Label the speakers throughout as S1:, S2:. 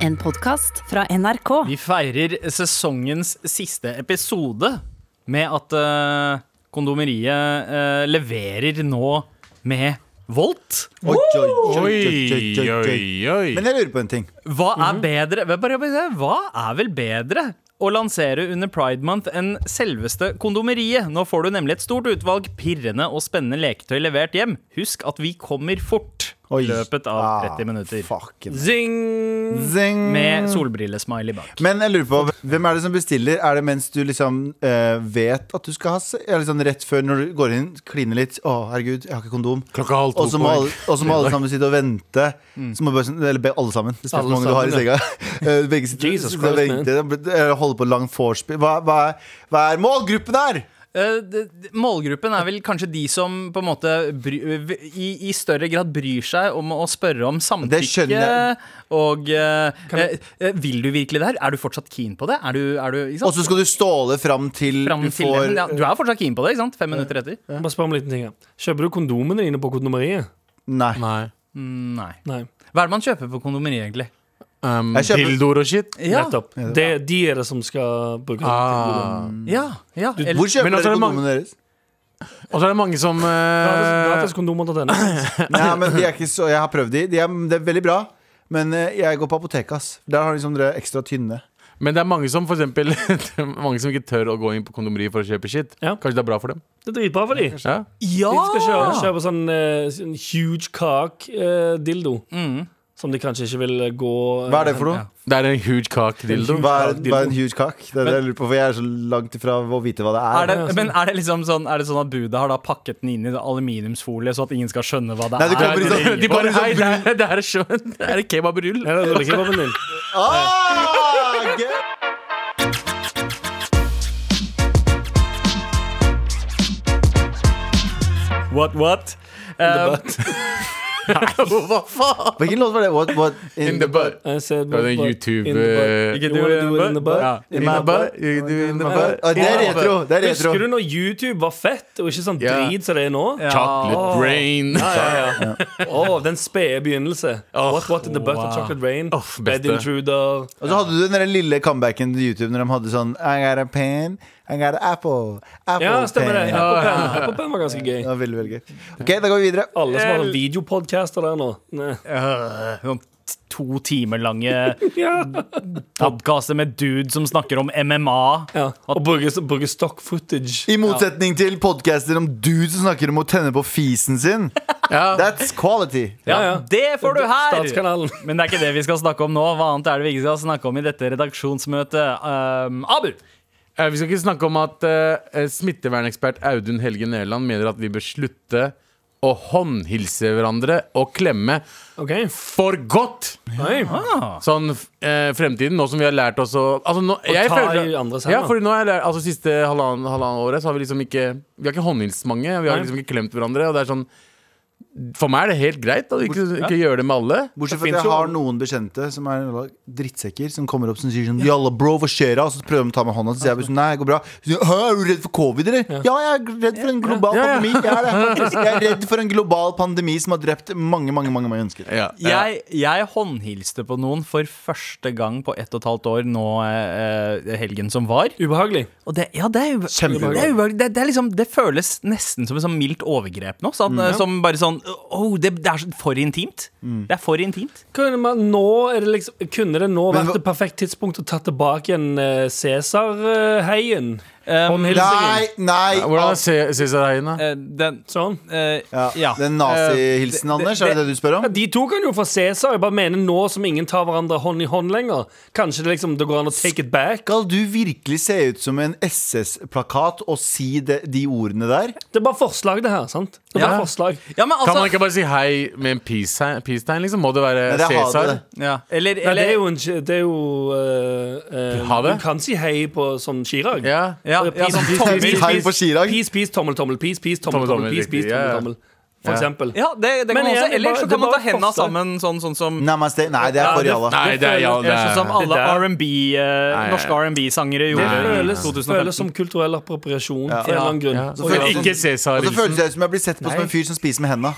S1: En podkast fra NRK.
S2: Vi feirer sesongens siste episode med at eh, kondomeriet eh, leverer nå med Volt.
S3: Oi, oi,
S4: Oi,
S3: oi, oi, oi.
S4: oi.
S3: Men jeg lurer på en ting.
S2: Hva
S3: Mhm.
S2: er bedre hva- bare- bare- Hva er vel bedre å lansere under Pride Month enn selveste kondomeriet? Nå får du nemlig et stort utvalg pirrende og spennende leketøy levert hjem. Husk at vi kommer fort
S3: Oi.
S2: i løpet av 30 minutter.
S3: Ah, fucking.
S4: Zing!
S3: Zing.
S2: Med solbrillesmiley bak.
S3: Men jeg lurer på, hvem er det som bestiller? Er det mens du liksom eh, vet at du skal ha se- Eller sånn rett før når du går inn, kliner litt Å, herregud, jeg har ikke kondom.
S4: Klokka halv to
S3: Og så
S4: på
S3: må, alle- og så må alle sammen sitte og vente.
S2: Mm.
S3: Så må bare, sånn- eller be alle sammen. Det spørs
S4: Alle
S3: hvor mange du har i
S4: sammen,
S3: senga. Eh, Begge sitter
S4: Jesus
S3: sitter og
S4: Christ,
S3: venter. eh, Holder på langt vorspiel. Hva, hva, er- hva er målgruppen der?
S2: Eh, det- det- Målgruppen er vel kanskje de som på en måte bry, v- i, i større grad bryr seg om å spørre om
S3: Det skjønner
S2: samtykke.
S3: jeg.
S2: Og eh, eh, eh, vil du virkelig det her? Er du fortsatt keen på det? Er du, er du, ikke sant?
S3: Og så skal du ståle fram til
S2: Sånn. Fram
S3: du
S2: til
S3: får
S2: den. ja, du er fortsatt keen på det, ikke sant? Fem minutter etter?
S5: Bare spør om en liten ting her. Kjøper du kondomene dine på kondomeriet?
S3: Nei.
S4: Nei.
S2: Mm, Nei.
S5: Nei.
S2: Hva er det man kjøper på kondomeriet, egentlig?
S4: Um,
S3: Jeg kjøper-
S4: Dildoer og shit.
S2: Ja,
S5: Nettopp. Det, de er det som skal bruke
S4: Ah.
S3: Mm.
S2: ja, ja. Eller,
S3: Hvor kjøper
S4: Men
S3: dere
S4: altså, det er mange-
S3: kondomene deres?
S4: Og så er det mange som
S5: Gratiskondomer.no.
S4: eh,
S3: Nei, men de er ikke så, Jeg har prøvd de. de er, det er veldig bra. Men eh, jeg går på apoteket. ass. Der har de sånn dere ekstra tynne.
S4: Men det er mange som for eksempel, det er mange som ikke tør å gå inn på kondomeriet for å kjøpe shit.
S5: Ja.
S4: Kanskje det er bra for dem?
S5: Det er dritbra for dem.
S4: Ja?
S2: ja!
S5: De skal kjøre, kjøpe sånn eh, sånn huge kak-dildo.
S2: Mm.
S5: Som de kanskje ikke vil gå eh,
S3: Hva er det for noe?
S4: Det er en huge cock dildo.
S3: Hva er, hva er en huge cock? Det er det jeg lurer på, for jeg er så langt ifra å vite hva det
S2: Er
S3: er.
S2: det, men er det liksom sånn Er det sånn at budet har da pakket den inn i aluminiumsfolie, så at ingen skal skjønne hva det
S3: Nei, du
S2: er?
S3: kommer i sånn-
S4: De bare Hei, det er, det er, sjø- det er kebabrull.
S5: Ja, det er rullekebaben din.
S3: Ah, gøy!
S2: What, what?
S5: Um,
S2: Eh,
S4: Hva faen?
S3: Hvilken låt var det? What, what
S4: In the butt.
S5: I said
S4: Det var
S5: what
S4: den
S5: butt
S4: YouTube
S5: in the butt.
S4: eh,
S2: Ikke
S5: You wanna do it in the butt?
S4: ja.
S3: In my butt,
S4: you do in the butt.
S3: Ah, det er retro. Det er retro.
S5: Husker du når YouTube var fett, og ikke sånn
S4: Ja.
S5: drit som det er nå?
S2: Ja.
S4: Chocolate brain.
S5: ja, ja. Å, den spede begynnelse.
S4: Åh,
S5: what what in the butt
S2: wow.
S5: of chocolate rain?
S4: Åh,
S5: Bed
S4: beste.
S5: intruder.
S3: Og så hadde du den der lille comebacken til YouTube når de hadde sånn I got a pen, I got an apple, apple
S5: Ja, stemmer det.
S3: pen.
S5: Apple-pen Apple Pen var ganske
S3: Det
S5: gøy.
S3: var veldig, veldig gøy. Ok, da går vi videre.
S5: Alle som har en videopodcaster der nå. Nei.
S2: øh, Sånn t- to timer lange
S5: Ja.
S2: podkaster med dude som snakker om MMA.
S5: Ja. Og bruke, bruke stock footage.
S3: I motsetning til podcaster om dudes som snakker om å tenne på fisen sin.
S4: Ja.
S3: That's quality.
S5: Ja, ja.
S2: Det får du her!
S5: Statskanalen.
S2: Men det er ikke det vi skal snakke om nå. Hva annet er det vi ikke skal snakke om i dette redaksjonsmøtet? Um, Abu!
S4: Eh, Vi skal ikke snakke om at eh, smittevernekspert Audun Helge Nederland mener at vi bør slutte å håndhilse hverandre og klemme
S5: OK.
S4: for godt.
S5: Nei.
S4: Sånn eh, fremtiden, nå som vi har lært oss å altså, nå,
S5: ta i andres hender.
S4: Ja, fordi nå har jeg lært, altså Siste halvannen, halvannen året Så har vi liksom ikke Vi har ikke håndhilst mange. Vi har
S5: Nei.
S4: liksom ikke klemt hverandre. Og det er sånn For meg er det helt greit å ikke, ikke gjøre det med alle.
S3: Bortsett fra
S4: Det
S3: at jeg
S4: finnes jo-
S3: har noen bekjente som er jævla drittsekker som kommer opp og sier sånn Jalla, bro, hva skjer? da?" Og så prøver de å ta meg i hånda, så sier jeg bare sånn Nei, det går bra. Så sier de, «Hæ, er du redd for covid, eller? Ja, jeg er redd for en global
S4: Ja, ja.
S3: pandemi. Jeg er, det. jeg er redd for en global pandemi som har drept mange, mange mange, mange mennesker.
S4: ja, ja.
S2: Jeg, jeg håndhilste på noen for første gang på ett og et halvt år nå eh, eh, helgen som var.
S5: Ubehagelig.
S2: Og det, ja, det er ube-
S3: Kjempeubehagelig.
S2: Det, er ubehagelig. det, det, er liksom, det føles nesten som et sånn mildt overgrep nå. Sånn, eh, Som bare sånn oh, det, det er så- for intimt. Det er for intimt.
S5: Kunne, man, nå er det liksom, kunne det nå
S3: Men
S5: vært
S3: hva-
S5: et perfekt tidspunkt å ta tilbake en eh, Cæsar-heien? Håndhilsingen.
S3: Nei, nei.
S4: Hvordan
S3: ass.
S4: er Cæsar-heiene?
S2: Um, Eh, den,
S5: Sånn.
S2: eh,
S3: Ja,
S2: ja. Eh,
S3: Den
S4: Eh,
S3: nazihilsen, Anders, er det det du spør om?
S5: Ja, de to kan jo få Cæsar. Jeg bare mener nå som ingen tar hverandre hånd i hånd lenger. Kanskje det liksom det går an å take it back.
S3: Skal du virkelig se ut som en SS-plakat og si det, de ordene der?
S5: Det er bare forslag, det her. sant? Det er bare
S2: Ja.
S5: forslag
S2: ja, men
S4: Kan man
S2: altså
S4: ikke bare si hei med en peace-tegn? Peace liksom? Må det være
S3: Men det er ha
S4: Cæsar?
S3: det.
S2: ja. Eller,
S5: Nei, det er
S2: eller
S5: jo en Det er jo eh, eh,
S4: Ha det.
S5: Du kan si hei på sånn Chirag.
S4: Ja.
S2: ja, ja,
S5: Peace,
S2: sånn
S5: peace,
S2: tommel-
S5: peace,
S3: Hei
S5: peace,
S3: på Chirag.
S5: Peace, peace, tommel, tommel, peace, peace, tommel,
S4: Tommel,
S5: tommel, peace,
S4: riktig,
S5: peace,
S4: ja, ja.
S5: tommel, tommel. For
S4: Ja.
S5: eksempel.
S2: ja, det, det kan man
S5: Men igjen,
S2: også.
S5: det
S2: Eller
S5: bare-
S2: så
S5: det
S2: kan man
S5: bare
S2: ta henda
S5: forslag.
S2: sammen, sånn, sånn som
S3: Namaste. Nei, det er for
S5: det-
S3: alle.
S4: Nei, det er ja, det
S2: Eller sånn som
S4: er
S2: alle
S5: Det der-
S2: R&B eh,
S4: Nei.
S2: norske R&B-sangere
S5: Det
S2: gjorde i
S5: føles,
S2: 2015.
S5: føles som kulturell appropriasjon for en
S2: Ja.
S5: eller annen grunn.
S4: ja.
S5: Og
S3: føles
S4: Men
S5: ja.
S3: det
S4: ikke
S3: Og så føles
S4: Cæsar-hilsen.
S3: jeg ut som jeg blir sett på som en fyr som spiser med henda.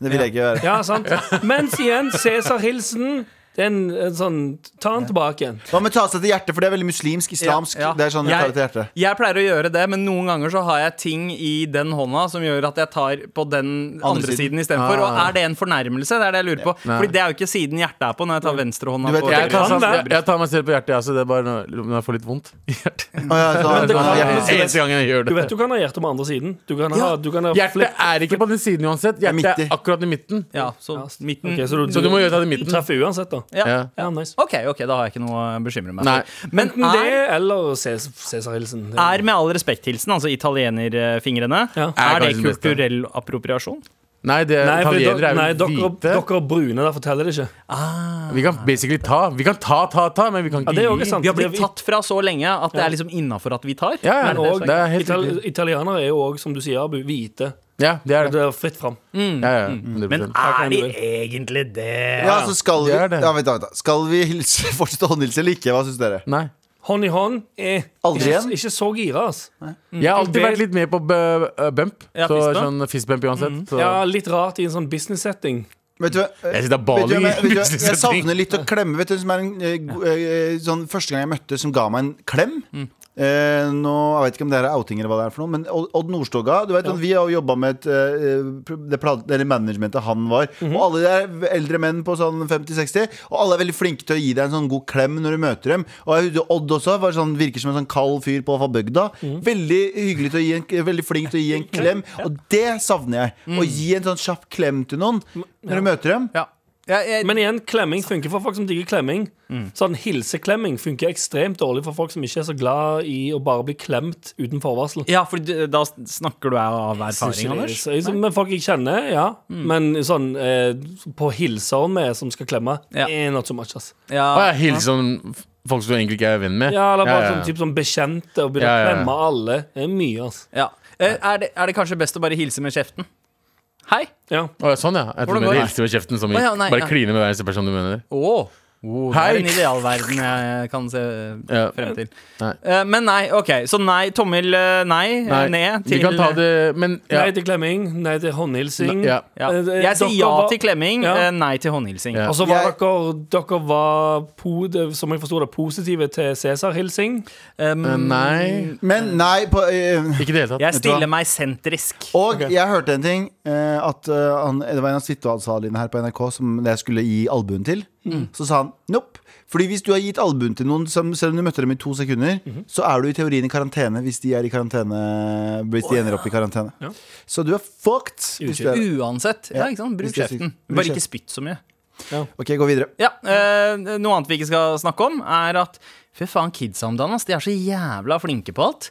S3: Det vil jeg ikke være.
S5: Ja, sant. Mens igjen, Cæsar-hilsen Det er en, en sånn Ta den tilbake igjen.
S3: Hva med ta seg til hjertet, for det er veldig muslimsk, islamsk.
S2: Ja, ja.
S3: Det er sånn jeg, tar det til hjertet
S2: jeg pleier å gjøre det, men noen ganger så har jeg ting i den hånda som gjør at jeg tar på den andre,
S3: Andre siden.
S2: siden istedenfor. Og
S4: Ah.
S2: er det en fornærmelse? Det er det jeg lurer på. Fordi det er jo ikke siden hjertet er på, når jeg tar venstrehånda
S3: Du vet,
S2: på.
S4: Jeg tar,
S5: kan
S4: jeg,
S5: det.
S4: jeg tar meg selv på hjertet, jeg også. Det er bare når når jeg får litt vondt i hjertet.
S3: Å, ja, så,
S5: det kan-
S3: hjertet.
S4: Eneste gangen jeg gjør
S5: Du
S4: det.
S5: vet du kan ha hjertet på andre siden. Du kan ha, du kan ha flip-
S4: Hjertet er ikke på den siden uansett.
S3: er
S4: Hjertet
S3: midt
S4: er
S3: i.
S4: akkurat i midten.
S2: Ja, så midten
S5: Ok, så, du,
S4: Så du må gjøre det i midten.
S5: Du treffer uansett, da.
S2: ja.
S4: Ja.
S5: Ja, nice.
S2: OK, ok, da har jeg ikke noe å bekymre meg
S4: Nei.
S2: for. Men
S5: Enten det
S2: er,
S5: eller Ces- Cæsar-hilsen. Det-
S2: er med all respekt-hilsen, altså italienerfingrene,
S5: Ja.
S4: Er
S2: er det
S4: kanskje det beste.
S2: kulturell appropriasjon?
S4: Nei, det
S5: Nei, for
S4: Eh, italienere
S5: dere- nei,
S4: er jo
S5: dere,
S4: hvite.
S5: dere er brune, der forteller det ikke.
S4: Vi kan basically ta. Vi kan ta, ta, ta, men vi kan
S5: Ja, det er jo ikke
S4: ikke gi.
S5: sant.
S2: Vi har
S5: Det
S2: blitt tatt fra så lenge at det er liksom innafor at vi tar.
S4: Ja, ja,
S2: Er det det
S5: og
S2: som er-
S4: det er helt
S5: Ital
S4: riktig.
S5: italienere er jo òg, som du sier, Abu, hvite.
S4: Ja, det er det.
S5: Det er fritt fram.
S4: Ja, ja,
S5: Mm.
S4: 100%.
S2: Men er de egentlig det?
S3: Ja, så skal vi,
S4: Det er det.
S3: ja, vent, da, vent, da. skal vi hilse, fortsette å håndhilse eller ikke? Hva syns dere?
S4: Nei.
S5: Hånd i hånd. Eh.
S3: Aldri
S5: ikke,
S3: igjen.
S5: Ikke så gira, ass.
S4: Jeg har
S5: Mm.
S4: alltid
S5: Vel-
S4: vært litt med på b- uh, bump.
S2: Ja, fistbump.
S4: så sånn fistbump uansett.
S5: Mm.
S4: Så.
S5: Ja, litt rart i en sånn business-setting.
S3: Vet du hva?
S4: Jeg sitter
S3: Vet du,
S4: Bali.
S3: hvem jeg, vet du, hva? jeg
S4: Business-setting.
S3: savner litt å klemme. Vet du hvem som er en eh, go- eh, sånn Første gang jeg møtte som ga meg en klem eh, Nå, Jeg vet ikke om det her er outing eller hva det er for noe, men Odd Odd Nordstoga du vet, at Vi har jo jobba med et, eh, pro- det pla- eller managementet han var. Og alle de er eldre menn på sånn 50-60, og alle er veldig flinke til å gi deg en sånn god klem når du møter dem. Og jeg, Odd også var sånn, virker som en sånn kald fyr på fra bygda. Veldig hyggelig til å gi en, veldig flink til å gi en klem, og det savner jeg. Å gi en sånn kjapp klem til noen når du møter dem.
S2: Ja. Jeg,
S3: Eh,
S2: jeg,
S5: Men igjen, klemming funker for folk som digger klemming.
S4: Mm.
S5: Sånn Hilseklemming funker ekstremt dårlig for folk som ikke er så glad i å bare bli klemt uten forvarsel.
S2: Ja, for du- da snakker du av erfaring, Anders.
S5: Så- så- Men folk jeg kjenner, ja.
S4: Mm.
S5: Men sånn eh, på hilser med som skal klemme,
S2: Ja.
S5: eh, not so much, ass.
S4: Å,
S2: Ja,
S4: jeg hilser sånn f- folk som du egentlig ikke er venn med.
S5: Ja, eller bare
S4: Ja, ja,
S5: Sånn,
S4: ja.
S5: typ, sånn bekjente og begynne
S4: Ja, ja, ja.
S5: å klemme alle. Det er mye, ass.
S2: ja. Eh, Er, det, er det kanskje best å bare hilse med kjeften? Hei!
S5: Ja.
S4: Å, ja, sånn, ja. Jeg tror
S2: Hvordan
S4: du
S2: går
S4: mener
S2: det?
S4: hilse med kjeften. Som i,
S2: Å, ja, nei,
S4: bare
S2: ja.
S4: kline med hver eneste person du mener.
S2: Å! Oh, det
S4: Hei.
S2: er en idealverden jeg kan se
S4: Ja.
S2: frem til.
S4: Nei.
S2: Eh, Men nei, OK. Så nei, tommel eh, nei,
S4: Nei,
S2: nei ned
S4: vi
S2: til eh,
S4: kan ta det, men ja.
S5: Nei til klemming, nei til håndhilsing.
S4: Ja.
S2: ja.
S5: Eh, eh,
S2: Jeg sier
S5: dere
S2: ja
S5: var-
S2: til klemming,
S5: Ja.
S2: eh, nei til håndhilsing.
S4: Ja.
S5: Og så var
S3: Jeg-
S5: dere, dere var po, det- som jeg forstod det, positive til Cæsar-hilsing.
S2: Um,
S4: Eh, Nei.
S3: Men nei på, eh,
S4: Ikke i det hele tatt.
S2: jeg
S3: Vet du hva?
S2: stiller meg sentrisk.
S3: Og jeg hørte en ting eh, at, eh, han, Det var en av Svittevalsalene her på NRK Som jeg skulle gi albuen til Så sa han, nope Fordi hvis du har gitt albuen til noen som, Selv om du møtte dem i to sekunder Så er du i teorien i karantene Hvis de, er i karantene, hvis de ender opp i karantene Så du er fucked hvis du er.
S2: Uansett. Ja, ikke sant? Bruk
S3: Hvis det er sykt.
S2: kjeften.
S3: Bruk
S2: Bare
S3: kjeften.
S2: ikke spytt så mye.
S3: Ok, gå videre
S2: Ja, eh, Noe annet vi ikke skal snakke om, er at fy faen, kidsa om dagen, ass, de er så jævla flinke på alt.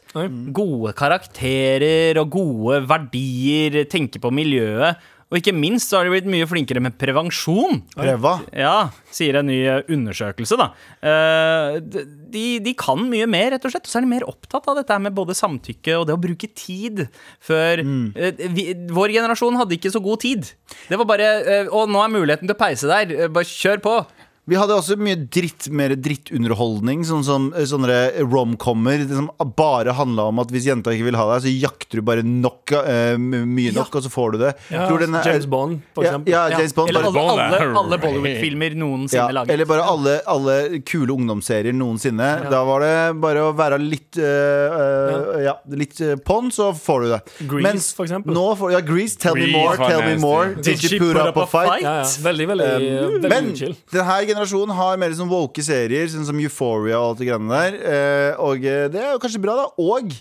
S2: Gode karakterer og gode verdier, tenke på miljøet. Og ikke minst så har de blitt mye flinkere med prevensjon.
S3: Preva
S2: Ja, sier en ny eh, undersøkelse, da. Eh, d- De, de kan mye mer, rett og slett. Og så er de mer opptatt av dette her med både samtykke og det å bruke tid. Før
S3: Mm.
S2: eh, vi, Vår generasjon hadde ikke så god tid. Det var bare eh, Å, nå er muligheten til å peise der. eh, Bare kjør på.
S3: Vi hadde også mye dritt, mer drittunderholdning, sånn som eh, sånne romcomer det som bare handla om at hvis jenta ikke vil ha deg, så jakter du bare nok, eh, m- mye nok, og så får du det. Tror den er-
S5: James Bond, for
S3: ja,
S5: eksempel.
S3: Ja, James Bond.
S2: Eller
S3: Bare,
S2: alle,
S4: Bond er-
S2: alle, alle Bollywood-filmer noensinne
S3: ja,
S2: laget.
S3: eller bare alle, alle kule ungdomsserier noensinne. Da var det bare å være litt eh, eh, ja. litt eh, på'n, så får du det.
S5: Grease,
S3: Mens
S5: for eksempel.
S3: Nå får, ja, Grease, Tell
S4: Grease
S3: Me More,
S4: var
S3: Tell Me
S4: nasty.
S3: More. Did you put up a fight?
S5: Ja, ja. Veldig, veldig,
S3: Um,
S5: veldig
S3: Men
S5: chill.
S3: denne generasjonen har mer sånn woke serier, sånn som Euphoria og alt det greiene der. Eh, og eh, det er jo kanskje bra, da. Og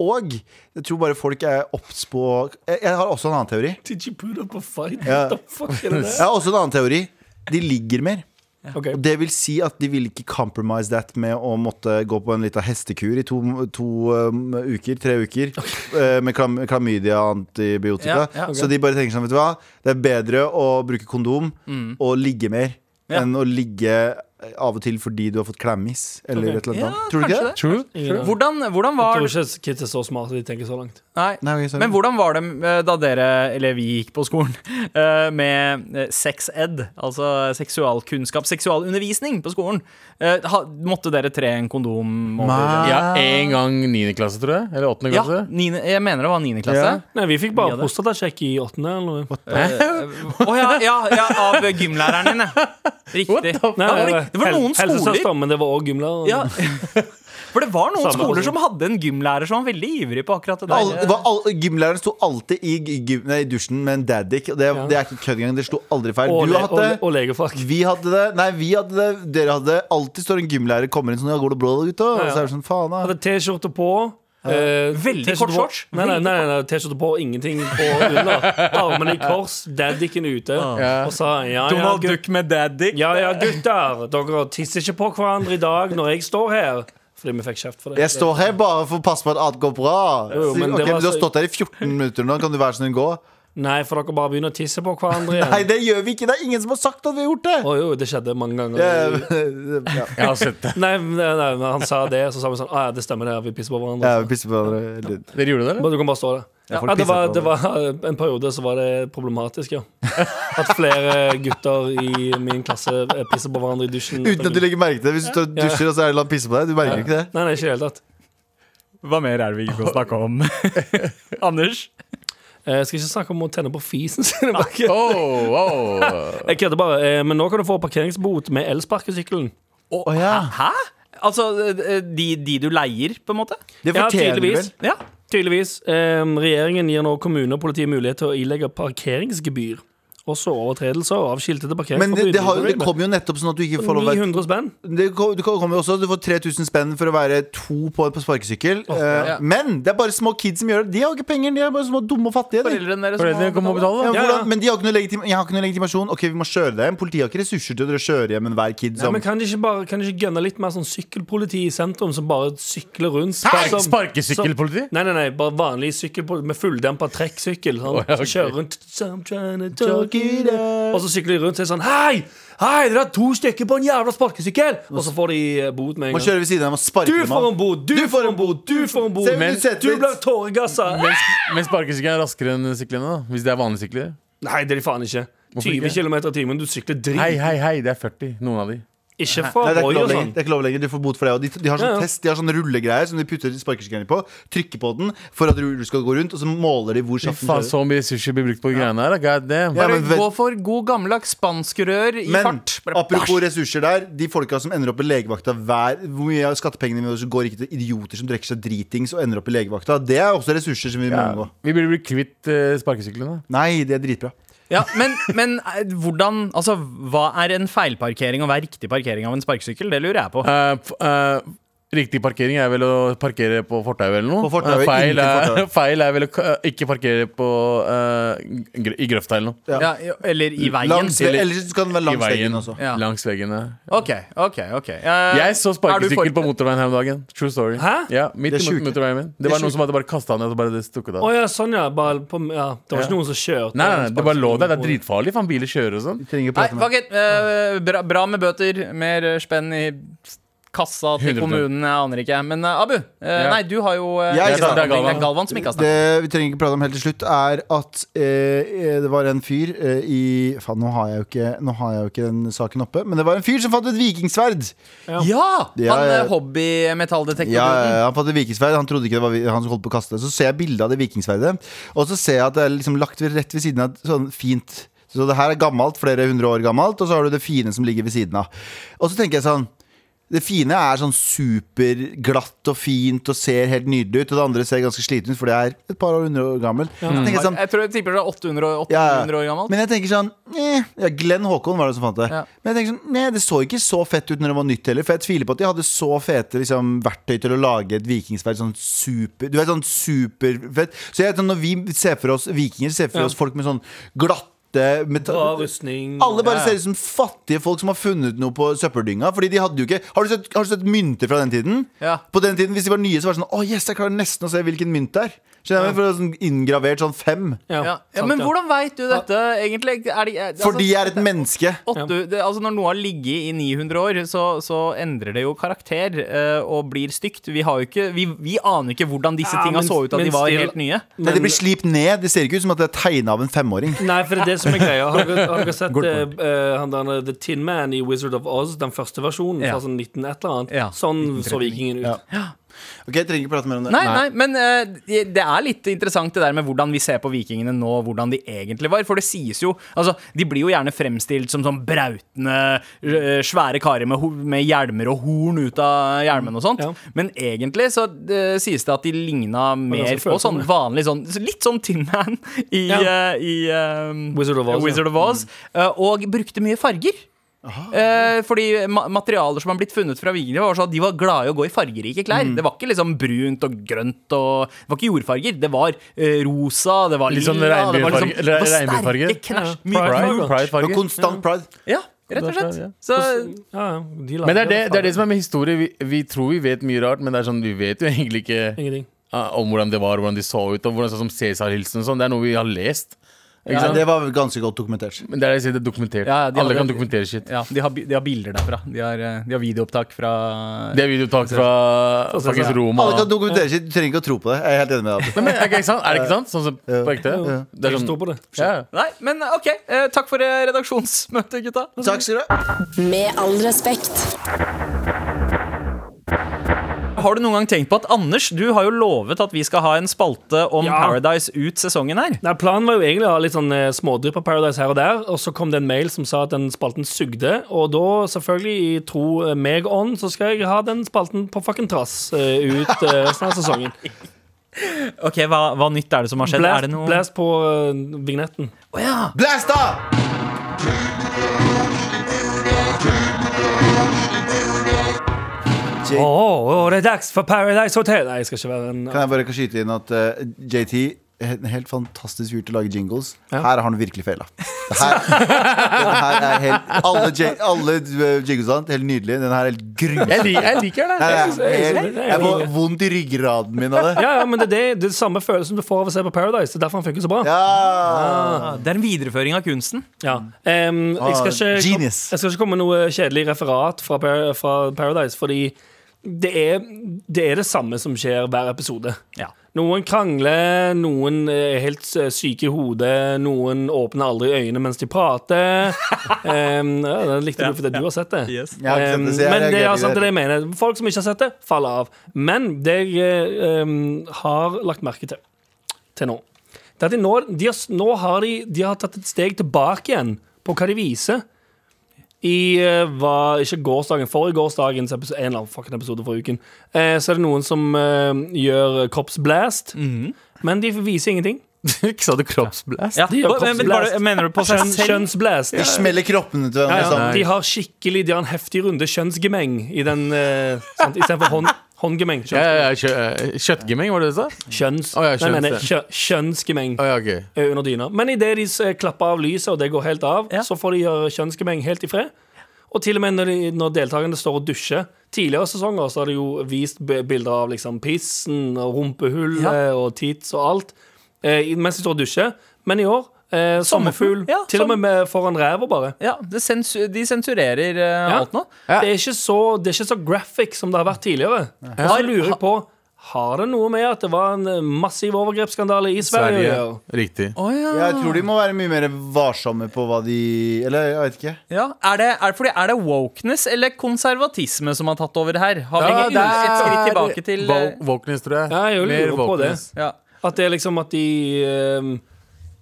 S3: og jeg tror bare folk er obs på jeg, jeg har også en annen teori.
S5: Did you put up a fight?
S3: Ja.
S5: What the fuck er det
S3: Jeg
S5: der?
S3: har også en annen teori De ligger mer.
S5: Ok.
S3: Og det vil si at de vil ikke compromise that med å måtte gå på en liten hestekur i to, to um, uker, tre uker, eh, med klam, klamydia og antibiotika.
S2: Ja, ja, ok.
S3: Så de bare tenker sånn,
S2: Mm.
S3: vet du hva, det er bedre å bruke kondom og ligge mer enn å ligge eh, av og til fordi du har fått klemmis, eller
S5: Ok.
S3: et eller annet.
S2: Ja,
S3: Tror du ikke
S2: kanskje
S3: det?
S4: True.
S5: Ingen aning.
S2: Hvordan, hvordan
S5: Jeg
S2: var
S5: tror ikke kids er så smarte de tenker så langt.
S2: Nei.
S3: Nei, ok, sorry.
S2: Men hvordan var det eh, da dere, eller vi gikk på skolen, eh, med eh, sex-ed, altså seksualkunnskap, seksualundervisning på skolen? Eh, ha- Måtte dere tre en kondom over?
S3: Nei.
S4: Ja, en gang 9. klasse, tror jeg. Eller 8.
S2: Ja,
S4: klasse.
S2: niende- jeg mener det var niende klasse.
S3: Ja.
S5: Nei, vi fikk
S2: Ja,
S5: bare
S2: det-
S5: prostatasjekk i åttende. Eller noe.
S2: Å ja, ja, ja, av gymlæreren din, ja. Riktig.
S5: Nei,
S2: Ja, men det var
S5: hel-
S2: noen skoler
S5: Helsesøster, men det var òg gymlærer.
S2: ja. For det var noen
S5: Samme
S2: skoler
S5: også.
S2: som hadde en gymlærer som var veldig ivrig på akkurat det
S3: Alle- det
S2: der.
S3: var all- Gymlæreren sto alltid i, g- gym, nei, i dusjen med en daddick. og Det, det er ikke kødd engang. Det sto aldri feil.
S5: Og,
S3: Du
S5: le
S3: har hatt det.
S5: og, og legefrakk.
S3: Vi hadde det. Nei, vi hadde det. Dere hadde det. Alltid står en gymlærer kommer inn sånn Ja, går det bra der ute? Og
S5: Ja, ja.
S3: så er det sånn Faen, da.
S5: Hadde T-skjorte på. eh,
S2: Veldig
S5: t-skjorte
S2: kort
S5: på-
S2: shorts.
S5: Nei, nei, nei, nei T-skjorte på, ingenting på under. Armene i kors, daddiken ute. Og sa ja, ja,
S2: Donald
S5: gutt,
S2: Duck med daddy.
S5: ja, ja, gutter. Dere tisser ikke på hverandre i dag når jeg står her. Fordi vi fikk kjeft for det.
S3: Jeg står her bare for å passe på at alt går bra.
S5: Jo, jo, men
S3: Ok,
S5: det var
S3: men Du har
S5: så-
S3: stått her i 14 minutter nå. Kan du være sånn gå?
S5: Nei, for dere bare begynner å tisse på hverandre igjen.
S3: Nei, det gjør vi ikke. Det er ingen som har sagt at vi har gjort det.
S5: Å jo, det skjedde mange ganger.
S3: Eh, ja.
S4: Jeg har sett det.
S5: Nei, nei, nei, men han sa det, så sa vi sånn ah, ja, det stemmer, det. Vi pisser på hverandre.
S3: Jeg pisser på hverandre. litt.
S4: Dere gjorde det, eller?
S5: Men du kan bare stå
S3: Ja,
S5: der. Ja,
S3: folk
S5: det,
S3: pisser
S5: var,
S3: på
S5: det var En periode så var det problematisk, ja. At flere gutter i min klasse eh, pisser på hverandre i dusjen.
S3: Uten at du legger merke til det. Hvis du står og dusjer, og så er det la han pisse på deg. Du merker ikke det.
S5: Nei, nei, ikke i det hele tatt.
S2: Hva mer er det vi ikke kan snakke om? Anders?
S5: Eh, Jeg skal ikke snakke om å tenne på fisen sin. Jeg
S4: Oh, oh.
S5: kødder bare. Eh, Men nå kan du få parkeringsbot med elsparkesykkelen.
S3: Å ja.
S2: Hæ? Altså eh, de, de du leier, på en måte?
S3: Det
S5: Ja,
S3: fortjener du vel.
S5: tydeligvis.
S2: Ja.
S5: Tydeligvis. Eh, Regjeringen gir nå kommune og politi mulighet til å ilegge parkeringsgebyr. Også overtredelser av skiltede
S3: Men det,
S5: parkeringsforbud.
S3: det, har, jo- det kom jo nettopp sånn at du ikke får lov å være
S5: 900 spenn.
S3: det kom, det kom jo også, Du får 3000 spenn for å være to på, på sparkesykkel. Eh,
S4: ja.
S3: Men det er bare små kids som gjør det. De har ikke penger. De er bare små dumme og fattige. De.
S2: Foreldrene deres
S4: Foreldrene kommer og betaler,
S3: Ja, men
S4: da.
S5: Ja,
S3: hvordan,
S5: ja.
S3: Men de har ikke noe legitim, jeg har ikke noe legitimasjon. Ok, vi må kjøre deg hjem. Politiet har ikke ressurser til å dra- kjøre hjem enhver kid
S5: Nei,
S3: som
S5: men kan de ikke bare Kan de ikke gønne litt mer sånn sykkelpoliti i sentrum, som bare sykler rundt?
S4: Hei,
S5: som-
S4: Sparkesykkelpoliti?
S5: Nei, nei, nei, bare vanlig sykkelpoliti med fulldempa trekksykkel. Sånn.
S4: ja, ok.
S5: Kjører rundt so I'm trying to talk it out. Og så sykler de rundt og sier sånn Hei! Hei, dere er to stykker på en jævla sparkesykkel! Og så får de eh, bot med en
S3: må
S5: gang.
S3: kjøre ved siden av dem og sparke
S5: Du
S3: dem
S5: får en
S3: av.
S5: bot! Du,
S3: Du får
S5: får
S3: en
S5: en bot! Du får en bot!
S3: Se, du
S5: Men-
S3: setter
S5: du
S3: litt-
S5: blir tåregassa!
S4: Men sparkesykkelen er raskere enn syklene, da. Hvis det er vanlige sykler.
S5: Nei, det er de faen ikke.
S4: Hvorfor
S5: 20
S4: ikke?
S5: km i timen, du sykler
S4: Hei,
S5: drit.
S4: hei, hei, det er 40. Noen av de.
S5: Ikke fra
S3: Nei, det er
S5: Roy
S3: ikke lov
S5: og
S3: lenger.
S5: sånn.
S3: Det er ikke lov lenger. Du får bot for det. Og de, de har sånn
S5: Ja, ja.
S3: test, de har sånn rullegreier som de putter sparkesykkelen på. Trykker på den for at rullen skal gå rundt, og så måler de hvor
S4: Fy
S3: sjaften
S4: faen,
S3: kjører.
S4: så mye sushi blir brukt på greiene her. da. God
S3: Ja,
S4: damn.
S2: Bare
S3: men vet-
S2: gå for god gammeldags spanskrør i
S3: Men
S2: fart. Bare
S3: apropos ressurser der, de folka som ender opp i legevakta hver Hvor mye av skattepengene mine går ikke til idioter som drikker seg dritings og ender opp i legevakta? Det er også ressurser som vi må unngå.
S4: Vi burde bli kvitt eh, sparkesyklene.
S3: Nei, det er dritbra.
S2: Ja, men, men eh, hvordan Altså, hva er en feilparkering og hva er riktig parkering av en sparkesykkel? Det lurer jeg på.
S4: Eh, f- eh, Riktig parkering er vel å parkere på fortauet eller noe.
S3: På fortauet,
S4: Eh, feil,
S3: inntil
S4: er,
S3: fortauet.
S4: feil er vel å k- ikke parkere på eh, gr i grøfta eller noe.
S3: Ja.
S2: Ja, eller i veien.
S3: Langs,
S4: eller-
S3: eller så kan den være
S4: I
S3: langs
S4: veien.
S3: veggen også.
S2: Ja.
S4: Langs veggene.
S2: OK, OK. ok Eh,
S4: Jeg så
S2: er
S4: sparkesykkel
S2: du
S4: på motorveien her om dagen. True story.
S5: Hæ?
S4: Ja, midt
S3: Det er
S4: i
S3: sjukt.
S4: mot- motorveien min. Det
S3: er
S4: var noen
S3: sjukt.
S4: som hadde bare kasta ned og bare det stukket
S5: Å
S4: av.
S5: ja, sånn ja. Bare på, ja. Det var ikke
S4: Ja.
S5: noen som kjørte.
S4: Nei, nei, nei, det bare lå der. Det er
S5: Sparkesykkel.
S4: dritfarlig, faen. Biler kjører og sånn.
S3: Vi
S2: Nei,
S3: trenger å prate med
S2: fuck it. Eh, bra, bra med bøter. Mer eh, spenn i kassa til
S4: 100%.
S2: kommunen. Jeg aner ikke. Men eh, Abu, eh,
S4: Ja.
S2: nei, du har jo eh,
S3: Jeg
S2: det er
S3: snakker.
S2: Galvan. Det er Galvan som ikke har snakket.
S3: Det vi trenger ikke prate om helt til slutt, er at eh, det var en fyr eh, i Faen, nå har, jeg jo ikke, nå har jeg jo ikke den saken oppe, men det var en fyr som fant et vikingsverd.
S2: Ja!
S3: Ja,
S2: Han
S3: ja.
S2: eh, hobbymetalldetektor.
S3: Ja, ja, han fant et vikingsverd, han trodde ikke det var vi- han som holdt på å kaste det. Så ser jeg bilde av det vikingsverdet, og så ser jeg at det er liksom lagt ved- rett ved siden av et sånn fint Så det her er gammelt, flere hundre år gammelt, og så har du det fine som ligger ved siden av. Og så tenker jeg sånn det fine er sånn superglatt og fint og ser helt nydelig ut. Og det andre ser ganske sliten ut, for det er et par år hundre år gammelt. Så tenker jeg sånn,
S2: Mm. Jeg tror jeg tipper det er 800, og
S3: Ja, ja.
S2: 800 år gammelt.
S3: Men jeg tenker sånn eh, ja, Glenn Håkon var det som fant det.
S2: Ja.
S3: Men jeg tenker sånn, nei, Det så ikke så fett ut når det var nytt heller. For jeg tviler på at de hadde så fete liksom, verktøy til å lage et vikingsverd. Sånn super Du vet, sånn superfett. Så jeg, vet sånn, når vi ser for oss vikinger, ser for
S5: Ja.
S3: oss folk med sånn glatte
S5: Bra
S3: meta-
S5: rustning.
S3: alle bare
S2: Ja, ja.
S3: ser ut som fattige folk som har funnet noe på søppeldynga. Fordi de hadde jo ikke Har du sett, har du sett mynter fra den tiden?
S2: Ja.
S3: På den tiden, Hvis de var nye, så var det sånn Å, yes, jeg klarer nesten å se hvilken mynt det er. Skjønner du? For det er sånn inngravert sånn fem.
S2: Ja, ja,
S5: sant,
S2: men
S5: ja.
S2: hvordan veit du dette, egentlig? Er de, er,
S3: Fordi jeg er et menneske.
S2: Åtte, det, altså når noe har ligget i 900 år, så, så endrer det jo karakter eh, og blir stygt. Vi, har jo ikke, vi, vi aner ikke hvordan disse
S5: Ja,
S2: tinga
S5: men-
S2: så ut da de
S5: men
S2: var
S5: still-
S2: helt nye.
S3: Nei, det blir slipt ned. Det ser ikke ut som at det er tegna av en femåring.
S5: Nei, for det er det som er greia. Har dere, har dere sett
S4: Good
S5: eh,
S4: point.
S5: eh, han der, The Tin Man i Wizard of Oz, den første versjonen?
S2: Ja.
S5: Fra sånn 19 et eller annet.
S2: Ja.
S5: Sånn så vikingen ut.
S3: Ja. Ok, jeg trenger ikke prate mer om det.
S2: Nei, nei, men eh, det det er litt interessant det der med hvordan vi ser på vikingene nå, hvordan de egentlig var. For det sies jo Altså, de blir jo gjerne fremstilt som sånn brautende, eh, svære karer med, ho- med hjelmer og horn ut av hjelmene og sånt.
S5: Ja.
S2: Men egentlig så eh, sies det at de ligna mer
S5: ganske
S2: på sånn
S5: følsomme.
S2: vanlig sånn Litt sånn Tin Man i,
S5: Ja.
S2: eh, i eh,
S5: Wizard of Oz, ja. Mm.
S2: Wizard of Oz eh, og brukte mye farger. Eh, fordi ma materialer som har blitt funnet fra vikingene, var sånn at de var glade i å gå i fargerike klær.
S4: Mm.
S2: Det var ikke liksom brunt og grønt og Det var ikke jordfarger. Det var eh, rosa, det var
S4: Litt
S2: lilla
S4: sånn
S2: det var
S4: regnbuefarge- eller regnbuefarger.
S2: Sterke knæsj.
S5: Ja,
S2: Mye
S5: pride.
S2: farger.
S4: Pride- Pride-farger.
S3: Og konstant pride.
S2: Ja, rett og slett. Så
S5: Ja, ja, de lager
S4: Men det er det, det er det som er med historie. Vi, vi tror vi vet mye rart, men det er sånn, vi vet jo egentlig ikke
S5: Ingenting.
S4: ah, om hvordan det var, hvordan de så ut, og hvordan sånn som Cæsar-hilsen og sånn. Det er noe vi har lest. Ikke
S3: Ja,
S4: sant?
S3: det var ganske godt dokumentert.
S4: men det er det jeg sier, det er dokumentert.
S2: Ja, ja, de
S4: Alle
S2: har-
S4: kan dokumentere shit.
S2: ja, de har, bi- de har bilder derfra. De har, eh, de har videoopptak fra
S4: Det er videoopptak fra faktisk Roma.
S3: Alle kan dokumentere sitt. Du trenger ikke å tro på det. Jeg er helt enig med deg.
S4: Nei, men, er det ikke sant? Er det ikke sant? Sånn som på ekte?
S5: Ja.
S4: Det er
S5: Jeg
S4: sånn,
S5: står på det.
S4: ja.
S2: Nei, men OK. eh, takk for eh, redaksjonsmøtet, gutta.
S3: Abu. Takk skal du ha.
S1: Med all respekt.
S2: Har du noen gang tenkt på at Anders, du har jo lovet at vi skal ha en spalte om
S5: Ja.
S2: Paradise ut sesongen her?
S5: Nei, Planen var jo egentlig å ha litt sånn eh, smådrypp av Paradise her og der, og så kom det en mail som sa at den spalten sugde, og da, selvfølgelig, i tro eh, meg on, så skal jeg ha den spalten på fucking trass eh, ut eh, resten av sesongen.
S2: Ok, hva, hva nytt er det som har skjedd? er
S5: Blast,
S2: det noe
S5: blast på eh, vignetten.
S2: Å ja.
S3: Blast, da!
S5: Å, å, det er dags for Paradise Hotel! Nei, jeg skal ikke være en
S3: Kan jeg bare ikke skyte inn at eh, JT er en helt fantastisk fyr til å lage jingles. Her har han virkelig feila. Det her- Den her er helt Alle, j alle eh, jinglesene er helt nydelige. Den her er helt
S4: Jeg,
S3: grusom.
S4: lik, jeg liker det.
S3: Nei, jeg,
S5: jeg-
S3: jeg, jeg får vondt i ryggraden min av det.
S5: Ja, ja, men det er det, det er samme følelsen du får av å se på Paradise. Det er derfor han funker så bra.
S3: Ja.
S2: Ah, Det er en videreføring av kunsten.
S5: Ja. Em, jeg,
S3: Ah,
S5: skal ikke, kom- jeg
S3: genius.
S5: skal ikke komme Eh, med noe kjedelig referat fra, Par- fra Paradise, fordi det er, det er det samme som skjer hver episode.
S2: Ja.
S5: Noen krangler, noen er helt eh, syke i hodet, noen åpner aldri øynene mens de prater. Em, ja, den likte du fordi du har sett det.
S3: Jeg har ikke sett det, så jeg
S5: men det
S3: reagerer
S5: er
S3: ikke
S5: sant det
S3: der.
S5: jeg mener. Folk som ikke har sett det, faller av. Men det jeg eh, um, har lagt merke til til nå, det er at de nå, de har, s- nå har de, de har tatt et steg tilbake igjen på hva de viser. I eh, hva Ikke gårsdagen, forrige gårsdagens episode, en eller annen fucking episode for uken. eh, så er det noen som eh, gjør kroppsblast,
S3: Mhm.
S5: men de viser ingenting.
S4: Ikke sa du kroppsblast?
S2: Ja.
S5: De gjør
S2: men, men, bare,
S5: kroppsblast.
S2: mener du på seg
S5: Kjønn,
S2: selv?
S5: kjønnsblast.
S3: De smeller kroppene til
S5: Ja,
S3: hverandre
S5: ja.
S3: sammen.
S5: Liksom, De har skikkelig De har en heftig runde kjønnsgemeng i den uh, istedenfor hånd, håndgemeng.
S4: Ja,
S5: Kjønns,
S4: ja, ja, kjø, eh, kjøttgemming, var det det du sa?
S5: kjønns,
S4: Å, ja, kjønns,
S5: nei, jeg mener,
S4: ja.
S5: kjø, kjønnsgemeng
S4: Å ja, ok.
S5: eh, under dyna. Men idet de eh, klapper av lyset, og det går helt av,
S2: Ja.
S5: så får de gjøre kjønnsgemeng helt i fred. Og til og med når, de, når deltakerne står og dusjer. Tidligere sesonger så har de jo vist b- bilder av liksom pissen og rumpehullet og tits og alt eh, i- mens de står og dusjer. Men i år eh, sommerfugl.
S2: Sommerfugl, ja,
S5: til og
S2: som-
S5: med med foran ræva, bare.
S2: Ja, det sensu de sensurerer eh,
S5: Ja.
S2: alt nå.
S4: Ja.
S5: Det, er ikke så, det er ikke så graphic som det har vært tidligere. Og så lurer jeg på har det noe med at det var en eh, massiv overgrepsskandale i Sverige å
S4: Sverige.
S5: gjøre?
S4: Riktig.
S2: Å ja.
S3: liksom. Jeg tror de må være mye mer varsomme på hva de Eller jeg vet ikke.
S2: ja. Er, det, er, det fordi, er det wokeness eller konservatisme som har tatt over her? Har vi
S4: Ja,
S2: ikke et skritt
S4: det er
S2: tilbake til eh,
S4: Wo- Wokeness, tror jeg.
S5: Ja, jeg lurer på det.
S4: wokeness.
S2: ja.
S5: At det er liksom at de eh,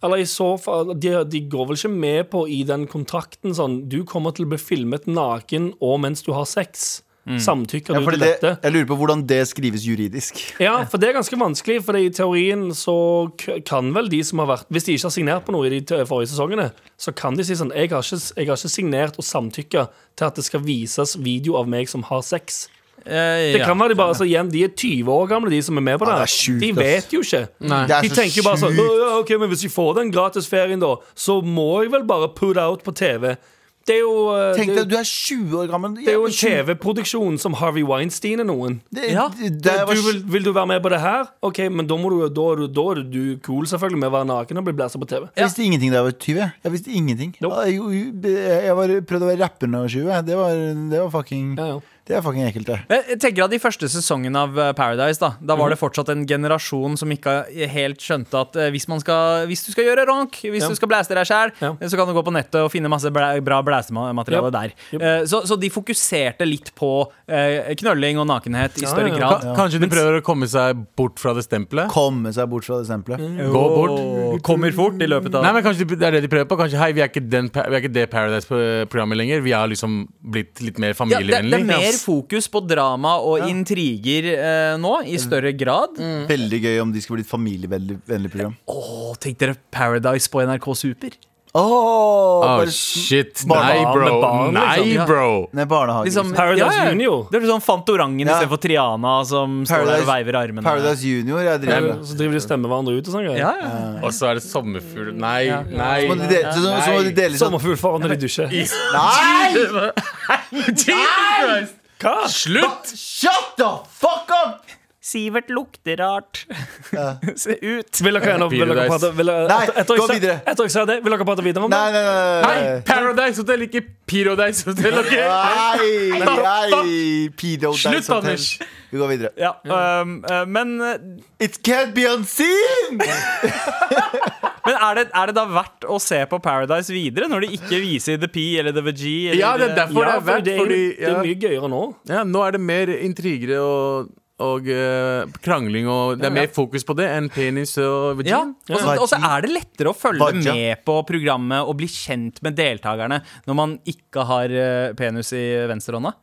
S5: Eller i så fall de, de går vel ikke med på i den kontrakten sånn Du kommer til å bli filmet naken og mens du har sex. Samtykker
S3: Ja,
S5: du
S3: fordi
S5: til
S3: det,
S5: dette?
S3: jeg lurer på hvordan det skrives juridisk.
S5: Ja, for det er ganske vanskelig, for i teorien så k- kan vel de som har vært Hvis de ikke har signert på noe i de t- forrige sesongene, så kan de si sånn Jeg har ikke, jeg har ikke signert og samtykka til at det skal vises video av meg som har sex.
S2: Eh,
S5: Det
S2: ja.
S5: kan være de bare altså, igjen, De er 20 år gamle, de som er med på det.
S3: det er
S5: her.
S3: sjukt,
S5: de
S3: ass.
S5: vet jo ikke.
S3: Det er
S5: De
S3: så
S5: tenker jo bare sånn
S3: sjukt.
S5: «Å, ja, OK, men hvis vi får den gratisferien, da, så må jeg vel bare put out på TV. Det er jo, eh,
S3: Tenk
S5: det,
S3: deg, du er 20 år gammel.
S5: det er jo en TV-produksjon som Harvey Weinstein er noen.
S3: Det-
S2: Ja,
S3: det-
S5: Eh, Du,
S3: da jeg var
S5: vil, vil du være med på det her? Ok, men da, må du, da, er du- da er du cool selvfølgelig med å være naken og bli blæsa på TV.
S3: Jeg visste ingenting da jeg var 20. jeg. Jeg visste ingenting Ah,
S5: Nope.
S3: Jeg, jeg- jeg var, prøvde å være rapper da jeg var 20. jeg. Det var, det var fucking
S5: Ja, ja.
S3: Det er fucking ekkelt, det.
S2: Jeg jeg tenker at De første sesongene av eh, Paradise da Da
S5: Mhm.
S2: var det fortsatt en generasjon som ikke eh, helt skjønte at eh, hvis, man skal, hvis du skal gjøre ronk, hvis
S5: Ja.
S2: du skal blæste deg sjæl,
S5: Ja.
S2: så kan du gå på nettet og finne masse blæ bra blæstemateriale
S5: Yep.
S2: der. Eh, Så, så de fokuserte litt på eh, knølling og nakenhet i
S5: Ja,
S2: større
S5: ja.
S2: grad.
S4: Ka- Kanskje de prøver å komme seg bort fra det stempelet?
S3: Komme seg bort fra det stempelet.
S4: Gå bort.
S2: Åh, Kommer fort i løpet av
S4: Nei, men Kanskje de- det er det de prøver på? Kanskje, hei, Vi er ikke, den, pa- vi er ikke det Paradise-programmet lenger. Vi har liksom blitt litt mer
S2: ja, det, det
S4: familievennlig.
S2: er mer fokus på drama og intriger eh, nå, i større grad.
S5: Mm.
S3: Veldig gøy om de skulle bli et familievennlig vennlig program.
S2: Åh, tenk dere Paradise på NRK Super.
S3: Oh,
S4: Oh,
S3: bare,
S4: shit.
S3: barn-
S4: Nei, bro.
S5: med barn, liksom.
S4: Nei,
S2: Ja.
S4: bro.
S3: nei, barnehage.
S2: Liksom,
S3: liksom.
S5: Paradise Junior.
S2: Det er sånn Fantorangen
S3: Ja.
S2: istedenfor Triana som står der og veiver armene.
S3: Paradise Junior. Jeg driver med.
S5: Eller Eh, Så driver de og stemmer hverandre ut og sånn greier.
S2: Ja, ja.
S4: Og så er det sommerfugl. Nei,
S3: Så må de
S4: nei.
S3: dele, så, så, så må de dele sånn
S5: Sommerfugl foran når de dusjer.
S3: Nei!
S5: Hva?
S4: Slutt!
S3: Shut the fuck up!
S2: Sivert lukter rart. Se ut.
S5: Vil dere, vil dere
S4: Paradise.
S5: prate vil, dere-
S3: Nei,
S5: etter, etter, jeg
S3: gå
S5: sa-
S3: videre.
S5: Etter jeg sa det, vil dere prate videre om det?
S3: Nei, nei, nei.
S4: Nei,
S3: nei.
S4: Paradise Hotel, ikke Paradise Hotel. ok?
S3: Nei, nei Pido
S4: Slutt,
S3: Dice Hotel.
S4: Anders.
S3: Vi går videre.
S2: Ja, øhm, øh, men, øh,
S3: It can't be unseen!
S2: men er, det, er det da verdt å se på Paradise videre, når de ikke viser The P eller The VG? Eller
S4: Ja, det er derfor
S5: Ja,
S4: det er
S5: for
S4: verdt.
S5: det, er,
S4: Fordi,
S5: jo- det
S4: ja.
S5: er mye gøyere nå.
S4: Ja, nå er det mer intriger og, og eh, krangling, og det er mer fokus på det enn penis og
S2: Ja,
S4: vagin.
S2: og så- og så er det lettere å følge
S3: Vagina.
S2: med på programmet og bli kjent med deltakerne når man ikke har øh, penis i venstrehånda,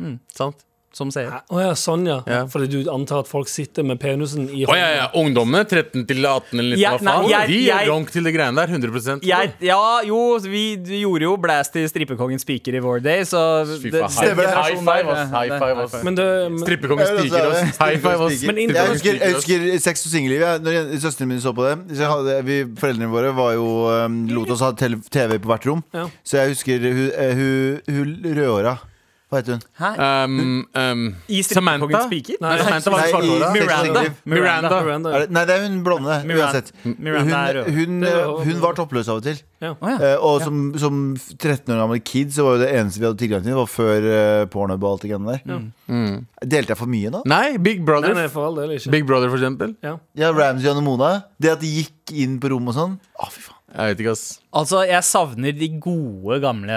S2: Mm,
S4: Ja. sant.
S2: som seer.
S5: Å ja, sånn ja.
S4: Ja.
S5: Fordi du antar at folk sitter med penisen i
S4: Å ja, ja. Ungdommene 13 til 18 eller 19,
S2: Ja,
S4: hva faen?
S2: nei, jeg-
S4: de
S2: jeg-
S4: gjør ronk til det greiene der. 100
S2: Jeg, ja, jo, vi gjorde jo blast til Strippekongens piker i vår day, så
S4: Fy
S2: det-
S4: faen.
S2: den
S3: Stemmer det.
S2: generasjonen
S4: High five,
S2: der,
S4: ass. High
S2: det-
S4: five, ass.
S5: Men det, men,
S4: Strippekongen stiger
S3: sånn
S4: oss. High five oss.
S5: Men
S3: Jeg
S5: inntil-
S3: husker, jeg
S4: Strippekongen stiger oss.
S3: husker sex og singellivet. Når jen- søstrene mine så på det så jeg hadde, vi, Foreldrene våre var jo, um, lot oss ha tel- TV på hvert rom.
S5: Ja.
S3: Så jeg husker hun, eh, hun, hun rødhåra. Hva heter hun?
S2: Hæ?
S4: Um, um,
S2: I
S4: Samantha?
S2: Strippekongens piker?
S4: Nei, Samantha var
S3: Nei, i
S4: svarthåra.
S3: Sex and the
S2: Miranda.
S3: City.
S4: Miranda.
S5: Miranda.
S3: Er det, nei, det er hun blonde.
S2: Miranda-
S3: uansett. Hun,
S2: Miranda er rød.
S3: hun,
S5: Det er
S3: eh,
S5: rød.
S3: hun var toppløs av og til.
S5: Ja.
S2: Å, ja.
S3: Eh, og som, som 13 år gammel kid så var jo det eneste vi hadde tilgang til, var før eh, pornhub og alt det greiene der.
S2: Mm.
S3: Delte jeg for mye nå?
S4: Nei, Big
S5: Nei,
S4: Brother.
S5: nei, for all del ikke.
S4: Big Brother, for eksempel.
S5: Ja.
S3: Ja, Ramsay og Mona. Det at de gikk inn på rom og sånn. Å, fy faen.
S4: Jeg vet ikke, ass.
S2: Altså, jeg savner de gode, gamle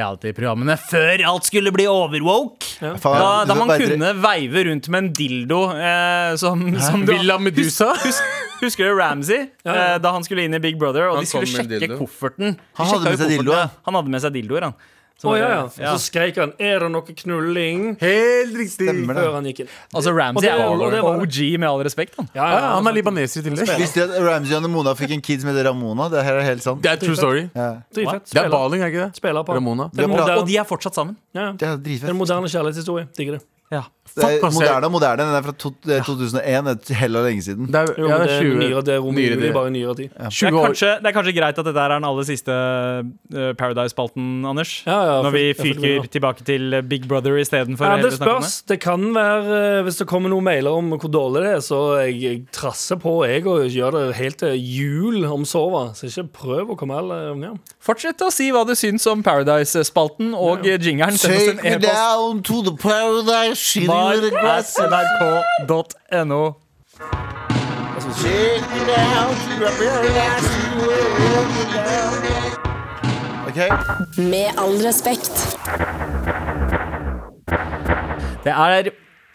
S2: reality-programmene før alt skulle bli overwoke. Da,
S3: Faen,
S2: da man
S3: vet dere-
S2: kunne veive rundt med en dildo eh, som, som du-
S4: Villa Medusa.
S2: Hus- Husker du Ramsay?
S5: ja.
S2: Eh, da han skulle inn i Big Brother, og
S4: Han
S2: de skulle
S4: kom med
S2: sjekke
S4: dildo.
S2: kofferten. De
S3: Han hadde
S2: sjekka
S3: med
S2: jo
S3: seg
S2: kofferten,
S3: dildoer.
S2: ja. Han hadde med seg dildoer, han. Så
S5: Å, ja,
S2: det-
S5: ja. Og så skreik han 'Er det noe knulling?'
S4: Helt riktig.
S3: Stemmer det.
S5: før han gikk inn.
S2: Altså, Ramsay
S5: Og det-
S2: er
S5: og det
S2: jo
S5: var det.
S2: OG, med all respekt. Han.
S5: Ja,
S4: Ja, ja, han altså, er libaneser i tillegg.
S3: Visste dere at Ramsay og Mona fikk en kid som heter Ramona? Det her er helt sant.
S4: Det er true story.
S3: Ja.
S5: Dritfett.
S4: Det er
S5: Spiller-
S4: baling, er ikke det?
S5: Spiller på.
S4: Ramona.
S5: Det er
S3: Vi har
S5: moderne,
S2: Og de er fortsatt sammen.
S5: ja, ja.
S3: Det er
S5: Det er
S3: dritfett.
S5: en moderne altså. kjærlighetshistorie. Digger det.
S2: Ja.
S3: Det er
S4: Fuck, ass, jeg-
S3: moderne og moderne. Den er fra to, eh, 2001. Det er heller lenge siden.
S4: Det er,
S5: Jo,
S4: ja,
S5: men
S4: det er 20,
S5: nyere, det er Romeo
S4: nyere
S5: Julie,
S4: det.
S5: bare i nyere tid. Ja,
S4: 20
S2: det, er
S4: år.
S2: kanskje, det er kanskje greit at dette er den aller siste eh, Paradise-spalten, Anders.
S5: ja,
S2: Når vi
S5: jeg følte meg
S2: fyker tilbake til eh, Big Brother istedenfor.
S5: Ja,
S2: hele
S5: det
S2: snakken om
S5: spørs. Det kan være eh, Hvis det kommer noen mailer om hvor dårlig det er, så jeg, jeg trasser på, jeg, og gjør det helt til jul om sova. Så ikke prøv å komme alle ja.
S2: det. Fortsett å si hva du syns om Paradise-spalten og eh, jingeren. Send oss
S3: Take
S2: en
S3: me
S2: e-post.
S3: down to the paradise city with the grass
S2: mar.nrk.no.
S3: Take me down to the paradise city with the grass. Ok.
S1: Med all respekt.
S2: Det er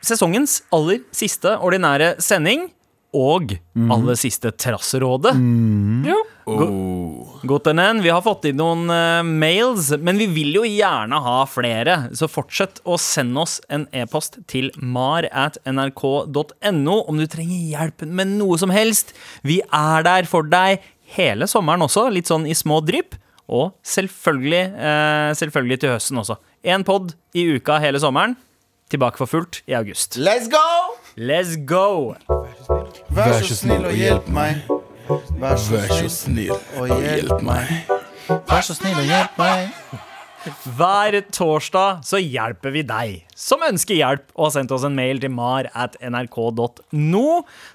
S2: sesongens aller siste ordinære sending. Og
S3: Mm.
S2: aller siste Trasserådet.
S5: Ja.
S2: Gottenen, vi har fått inn noen eh, mails, men vi vil jo gjerne ha flere. Så fortsett å sende oss en e-post til mar at nrk.no om du trenger hjelp med noe som helst. Vi er der for deg hele sommeren også, litt sånn i små drypp. Og selvfølgelig, eh, selvfølgelig til høsten også. Én pod i uka hele sommeren. Tilbake for fullt i august.
S3: Let's go!
S2: Let's go!
S3: Vær så snill og hjelp meg. Vær så
S6: Vær så
S3: snill
S6: snill
S3: og hjelp
S6: hjelp meg.
S3: Vær så snill og hjelp meg.
S2: Hver torsdag så hjelper vi deg som ønsker hjelp og har sendt oss en mail til mar at nrk.no,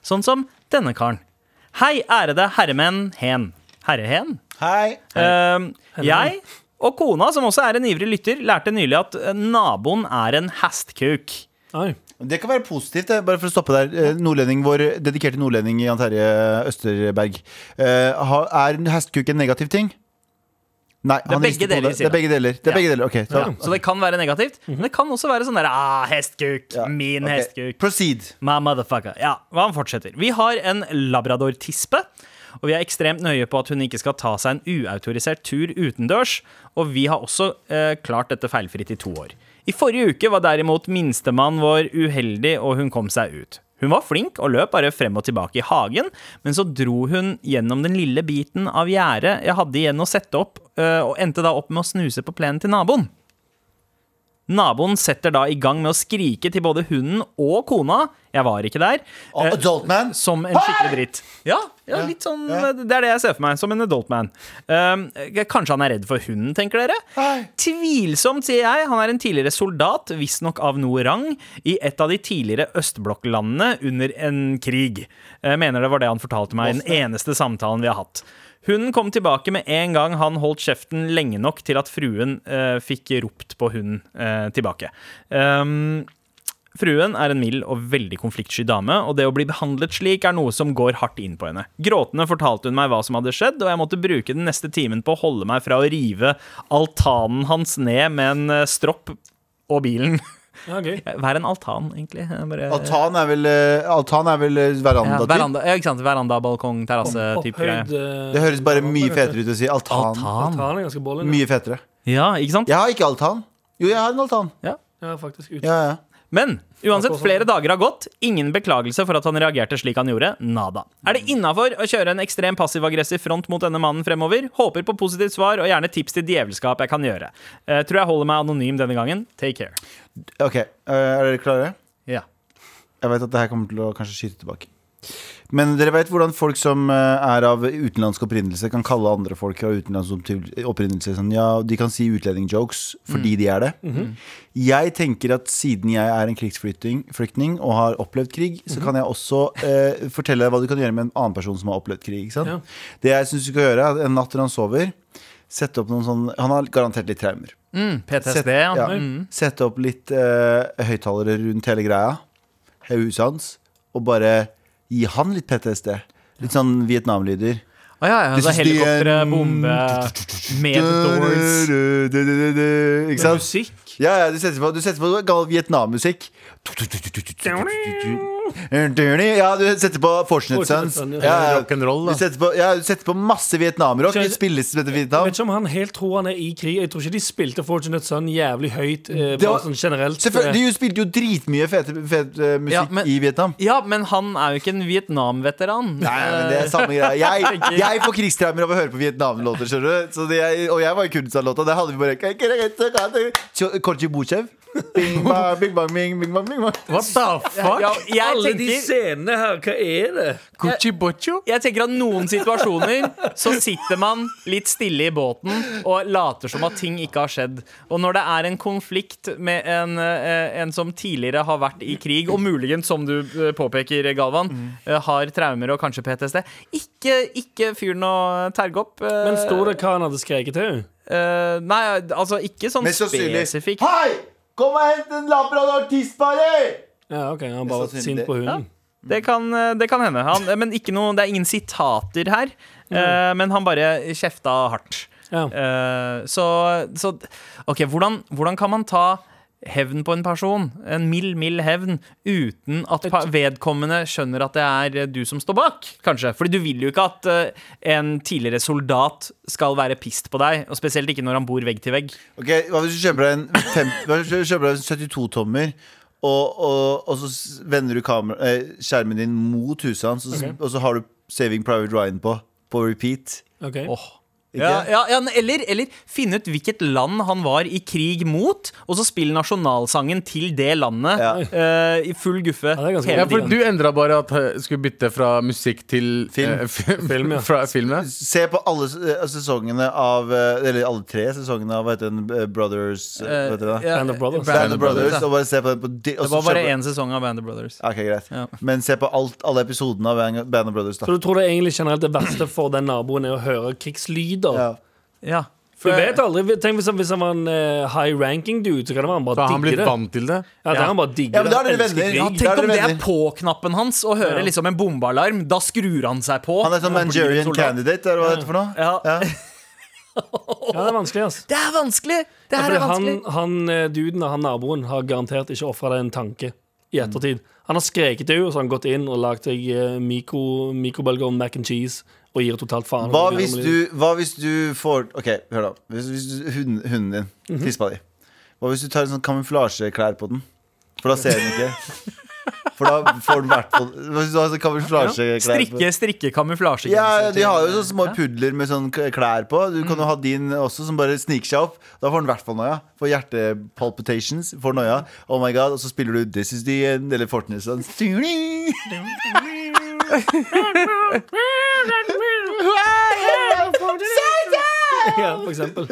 S2: sånn som denne karen. Hei, ærede herremenn hen. Herrehen?
S3: Hei.
S2: Ehm, jeg og kona, som også er en ivrig lytter, lærte nylig at eh, naboen er en hastkuk.
S5: Oi.
S3: Det kan være positivt, det, bare for å stoppe der. Eh, Nordlending, vår dedikerte nordlending Jan Terje Østerberg. Eh, har- Er hestekuk en negativ ting? Nei, det
S2: er begge deler, sier
S3: det. det er
S2: han.
S3: begge deler. Det er
S2: Ja.
S3: begge deler, ok så,
S2: Ja, så det kan være negativt, men det kan også være sånn der ah, Hestkuk.
S3: Mhm. Ja,
S2: Min
S3: ok.
S2: hestkuk.
S3: Proceed.
S2: My motherfucker. Ja, hva han fortsetter. Vi har en labrador-tispe, og vi er ekstremt nøye på at hun ikke skal ta seg en uautorisert tur utendørs, og vi har også eh, klart dette feilfritt i to år. I forrige uke var derimot minstemann vår uheldig, og hun kom seg ut. Hun var flink og løp bare frem og tilbake i hagen, men så dro hun gjennom den lille biten av gjerdet jeg hadde igjen å sette opp, eh, og endte da opp med å snuse på plenen til naboen. Naboen setter da i gang med å skrike til både hunden og kona. Jeg var ikke der. eh,
S3: Adult man.
S2: Som en skikkelig dritt. Ja, ja litt sånn
S3: ja.
S2: Det er det jeg ser for meg. Som en adult man. Um, kanskje han er redd for hunden, tenker dere?
S3: Nei.
S2: Tvilsomt, sier jeg. Han er en tidligere soldat, visstnok av noe rang, i et av de tidligere østblokklandene under en krig. Jeg mener det var det han fortalte meg i den eneste samtalen vi har hatt. Hunden kom tilbake med en gang han holdt kjeften lenge nok til at fruen eh, fikk ropt på hunden eh, tilbake. Um, Fruen er en mild og veldig konfliktsky dame, og det å bli behandlet slik er noe som går hardt inn på henne. Gråtende fortalte hun meg hva som hadde skjedd, og jeg måtte bruke den neste timen på å holde meg fra å rive altanen hans ned med en eh, stropp og bilen.
S5: Ja, gøy.
S2: Hva er en altan, egentlig? Jeg Bare,
S3: Altan er vel, eh, altan er vel eh, veranda,
S2: ja,
S3: typ.
S2: veranda, ja, ikke sant? Veranda, balkong, terrasse-type
S5: Opphøyd
S2: greie.
S5: eh,
S3: Det høres bare mye fetere ut å si altan.
S2: Altan.
S5: altan er ganske bollen.
S3: Mye fetere.
S2: Ja, ikke sant?
S3: Jeg har ikke altan. Jo, jeg har en altan.
S5: Ja, faktisk. Ut.
S3: Ja, ja.
S2: Men uansett, flere dager har gått. Ingen beklagelse for at han reagerte slik han gjorde. Nada. Er det innafor å kjøre en ekstrem passiv-aggressiv front mot denne mannen fremover? Håper på positivt svar og gjerne tips til djevelskap jeg kan gjøre. Eh, tror jeg holder meg anonym denne gangen. Take care.
S3: Ok, eh, er dere klare?
S2: Ja.
S3: Jeg vet at det her kommer til å kanskje skyte tilbake. Men dere vet hvordan folk som eh, er av utenlandsk opprinnelse, kan kalle andre folk av utenlandsk opp- opprinnelse sånn Ja, de kan si utlendingjokes fordi de er det. Jeg tenker at siden jeg er en krigsflyktning flyktning og har opplevd krig, så kan jeg også eh, fortelle deg hva du kan gjøre med en annen person som har opplevd krig. Ikke sant?
S5: Ja.
S3: Det jeg syns du skal gjøre, er at en natt når han sover, sette opp noen sånn Han har garantert litt traumer.
S2: Mm, PTSD,
S3: Sett-
S2: ja.
S3: ja.
S2: Mm.
S3: Sette opp litt eh, høyttalere rundt hele greia, i huset hans, og bare gi han litt PTSD. Litt sånn Vietnam-lyder.
S2: Å ja, ja.
S3: This
S2: Så
S3: is the
S2: helikoptre,
S3: end.
S2: eh, bombe, med doors.
S3: Ikke sant?
S5: Musikk.
S3: Ja, ja, du setter på, du setter på gammel Vietnam-musikk. Ja, du setter på Fortunate Sons. Ja, ja.
S4: Rock'n'roll,
S3: Du
S4: da.
S3: setter på, ja, du setter på masse vietnamrock. Det spilles som heter
S5: Jeg
S3: Vietnam.
S5: vet ikke om han helt tror han er i krig. Jeg tror ikke de spilte Fortunate Son jævlig høyt. Eh,
S3: Det var-
S5: bare sånn generelt.
S3: Selvfølgelig, Du spilte jo dritmye fet, fet eh, musikk
S2: Ja, men-
S3: i Vietnam.
S2: Ja, men han er jo ikke en Vietnam-veteran.
S3: Nei, men det er samme greia. Jeg, jeg får krigstraumer av å høre på Vietnam-låter, skjønner du. Så det jeg, og jeg var i Kurdistan-låta. Det hadde vi bare Korji Buchev. Bing bang, bing bang, bing bing bang, bing bang.
S4: What the fuck?
S2: Ja, jeg
S5: Alle de
S2: tenker
S5: scenene her, hva er det?
S4: Gucci Bocho?
S2: jeg tenker at noen situasjoner så sitter man litt stille i båten og later som at ting ikke har skjedd. Og når det er en konflikt med en, eh, en som tidligere har vært i krig, og muligens, som du eh, påpeker, Galvan, eh, har traumer og kanskje PTSD, ikke, ikke fyr noe terge opp. eh,
S5: Men sto det hva han hadde skreket til henne?
S2: eh, Nei, altså ikke sånn
S3: Mest sannsynlig.
S2: spesifikt.
S3: Hei! Kom og hent en labrador tisbare!
S5: Ja, ok, han bare
S3: Mest
S5: var sint på hunden.
S2: Det kan, det kan hende. Han, men ikke noe, det er ingen sitater her.
S5: Mm.
S2: eh, men han bare kjefta hardt.
S5: Ja.
S2: Eh, så, så OK, hvordan, hvordan kan man ta hevn på en person, en mild, mild hevn, uten at pa vedkommende skjønner at det er eh, du som står bak, kanskje? Fordi du vil jo ikke at eh, en tidligere soldat skal være pissed på deg, og spesielt ikke når han bor vegg til vegg.
S3: Ok, Hva hvis du kjøper deg en, fem- hva hvis du kjøper deg en 72-tommer, og, og, og så s- vender du kamera, eh, skjermen din mot huset hans, og, så- og så har du Saving Private Ryan på, på repeat?
S5: Ok.
S2: Åh,
S3: Ikke?
S2: Ja, ja, ja, eller, eller finne ut hvilket land han var i krig mot, og så spille nasjonalsangen til det landet
S3: Ja.
S2: eh, i full guffe.
S5: det er ganske
S2: hele
S4: Ja, for
S2: tiden.
S4: du endra bare at jeg skulle bytte fra musikk til
S3: Film.
S4: eh, film,
S5: Film, ja.
S4: Fra film, ja.
S3: Se på alle s- eh, sesongene av eh, Eller alle tre sesongene av hva heter den, eh, Brothers eh,
S2: Eh,
S3: hva heter det?
S2: ja,
S5: Band of Brothers.
S2: Band
S3: Band of Brothers.
S2: ja.
S3: Og bare se på den på di-
S2: Det
S3: og så
S2: var bare
S3: kjøpe-
S2: én sesong av Band of Brothers.
S3: Ok, greit.
S2: Ja.
S3: Men se på alt, alle episodene av Band Band of Brothers, da.
S5: Så du tror det er egentlig generelt det verste for den naboen er å høre krigslyder?
S3: Ja.
S2: Ja.
S5: For du
S2: For-
S5: vet aldri, tenk Hvis han, hvis han var en eh, high ranking dude, så kan det være han
S4: Da
S5: bare
S4: har han
S5: digger
S4: blitt
S5: det.
S4: vant til det.
S5: Ja, da
S2: Ja.
S5: er han bare digger
S3: Ja, men da er
S5: det.
S3: dere
S5: Han elsker
S3: venner.
S5: krig.
S2: Ja,
S3: Da er
S2: tenk om
S3: dere
S2: det er
S3: venner.
S2: på-knappen hans, og hører
S5: Ja.
S2: liksom en bombealarm. Da skrur han seg på.
S3: Han er sånn
S2: og blir en
S3: Nigerian
S2: soldat.
S3: candidate, eller hva det heter for noe?
S2: Ja.
S5: Ja, det er vanskelig, ass.
S2: Det er vanskelig! Det
S5: Ja,
S2: her
S5: fordi
S2: er vanskelig.
S5: han, han eh, duden og han naboen har garantert ikke ofra det en tanke i ettertid. Han har skreket til henne, og så har han gått inn og lagd seg eh, mikro, mikrobølger og mac and cheese og gir totalt faen.
S3: Hva hvis du, hva hvis du får Ok, hør da. Hvis, hvis du- hunden, hunden din, tispa di Hva hvis du tar en sånn kamuflasjeklær på den? For da ser den ikke. For da får den hvert fall Hva Hvis du har sånn kamuflasjeklær på
S2: Strikke, strikke kamuflasje.
S3: ja, De har jo sånne små pudler med sånn k- klær på. Du kan
S5: Mm.
S3: jo ha din også, som bare sniker seg opp. Da får den i hvert fall noia. Får hjertepalpitations. Får noia. Oh my god. Og så spiller du This Is The End eller Fortnite sånn.
S5: Ja, for eksempel.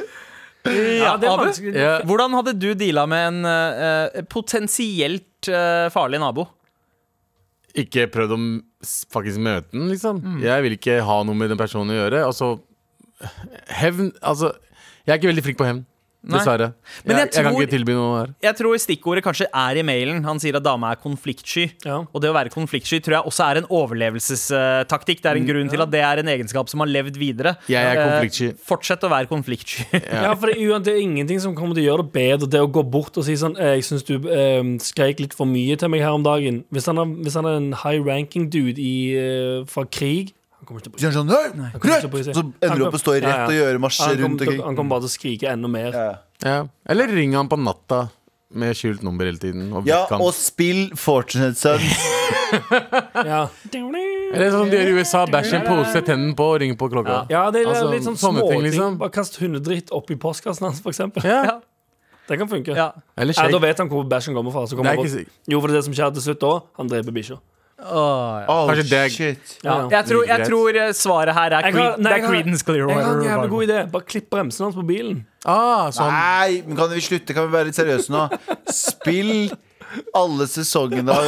S5: Ja, det er
S2: Abu?
S5: vanskelig.
S4: Ja.
S2: Hvordan hadde du deala med en eh, eh, potensielt eh, farlig nabo?
S4: Ikke prøvd å m- s- faktisk møte den, liksom. Jeg vil ikke ha noe med den personen å gjøre. Altså, hevn Altså, jeg er ikke veldig flink på hevn.
S2: Nei.
S4: Dessverre.
S2: Men
S4: jeg,
S2: jeg
S4: jeg, kan
S2: tror-
S4: ikke tilby noe her.
S2: Jeg tror stikkordet kanskje er i mailen. Han sier at dama er konfliktsky.
S5: Ja.
S2: Og det å være konfliktsky tror jeg også er en overlevelsestaktikk. Det er en
S5: Mm,
S2: grunn til at det er en egenskap som har levd videre.
S4: Jeg er
S2: Eh,
S4: konfliktsky.
S2: fortsett å være konfliktsky.
S5: Ja, for det er, uan- det er ingenting som kommer til å gjøre det bedre. Det å gå bort og si sånn eh, 'Jeg syns du eh, skreik litt for mye til meg her om dagen'. Hvis han er, hvis han er en high ranking dude i, eh, fra krig Han kommer ikke til å bry seg.
S3: Så gjør han sånn «Nei,
S5: Han kommer ikke til å
S3: rett!»
S5: bry seg.
S3: Så ender du
S5: Han
S3: opp og står i
S5: kom- Ja,
S3: rett og
S5: ja.
S3: gjør marsjer
S5: Han
S3: rundt
S5: kommer til-
S3: omkring.
S5: Han kommer bare til å skrike enda mer.
S3: Ja.
S4: Ja. Eller ring han på natta med skjult nummer hele tiden. Og
S3: Ja,
S4: vekk han.
S3: og spill Fortunate Sons.
S5: Ja.
S4: Eller sånn som de gjør i USA. Bæsj i en pose, tennene på, og ring på klokka.
S5: ja, det er
S4: Altså,
S5: litt sånn
S4: sånne ting,
S5: småting.
S4: liksom.
S5: Bare kast hundedritt oppi postkassen hans, for eksempel.
S4: Ja.
S5: Det kan funke.
S2: Ja.
S4: Eller
S5: Ja, da
S4: shake.
S5: vet han hvor bæsjen kommer fra. Så
S4: Det
S5: kommer
S4: er
S5: han
S4: ikke
S5: bort-
S4: sikkert.
S5: jo, for det er det som skjer til slutt da, han dreper bikkja.
S2: Åh, ja.
S3: Oh,
S4: Kanskje det er-
S3: shit.
S5: Ja, ja.
S2: Jeg tror, jeg tror eh, svaret her er,
S5: Jeg har-
S2: Creed,
S5: nei,
S2: det
S5: jeg
S2: er
S5: har-
S2: Creedence
S5: Jeg har
S2: Clearwater
S5: en jævlig
S2: Revival.
S5: god idé. Bare klipp bremsen hans på bilen.
S4: Ah,
S5: Sånn.
S4: så han,
S3: Nei, men kan vi slutte? Kan vi være litt seriøse nå? Spill alle sesongene av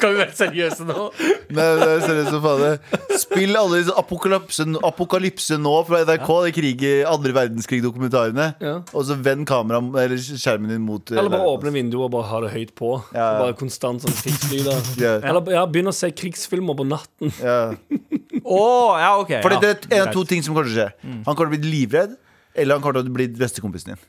S2: Kan vi være seriøse nå?
S3: Nei, det er seriøst som faen. det. Spill alle disse apokalypse, apokalypse nå fra NRK, de krig, andre verdenskrig-dokumentarene.
S5: Ja.
S3: Og så vend kamera, eller skjermen din mot eh,
S5: Eller bare åpne vinduet og bare ha det høyt på.
S3: Ja, ja.
S5: Bare konstant sånn krigslyder.
S3: Ja,
S5: Eller ja, begynn å se krigsfilmer på natten.
S3: ja.
S2: Åh, ja, ok
S3: For det,
S2: ja.
S3: det er en av to ting som kommer til å skje.
S5: Mm.
S3: Han kommer til å bli livredd, eller han kommer til å bli bestekompisen din.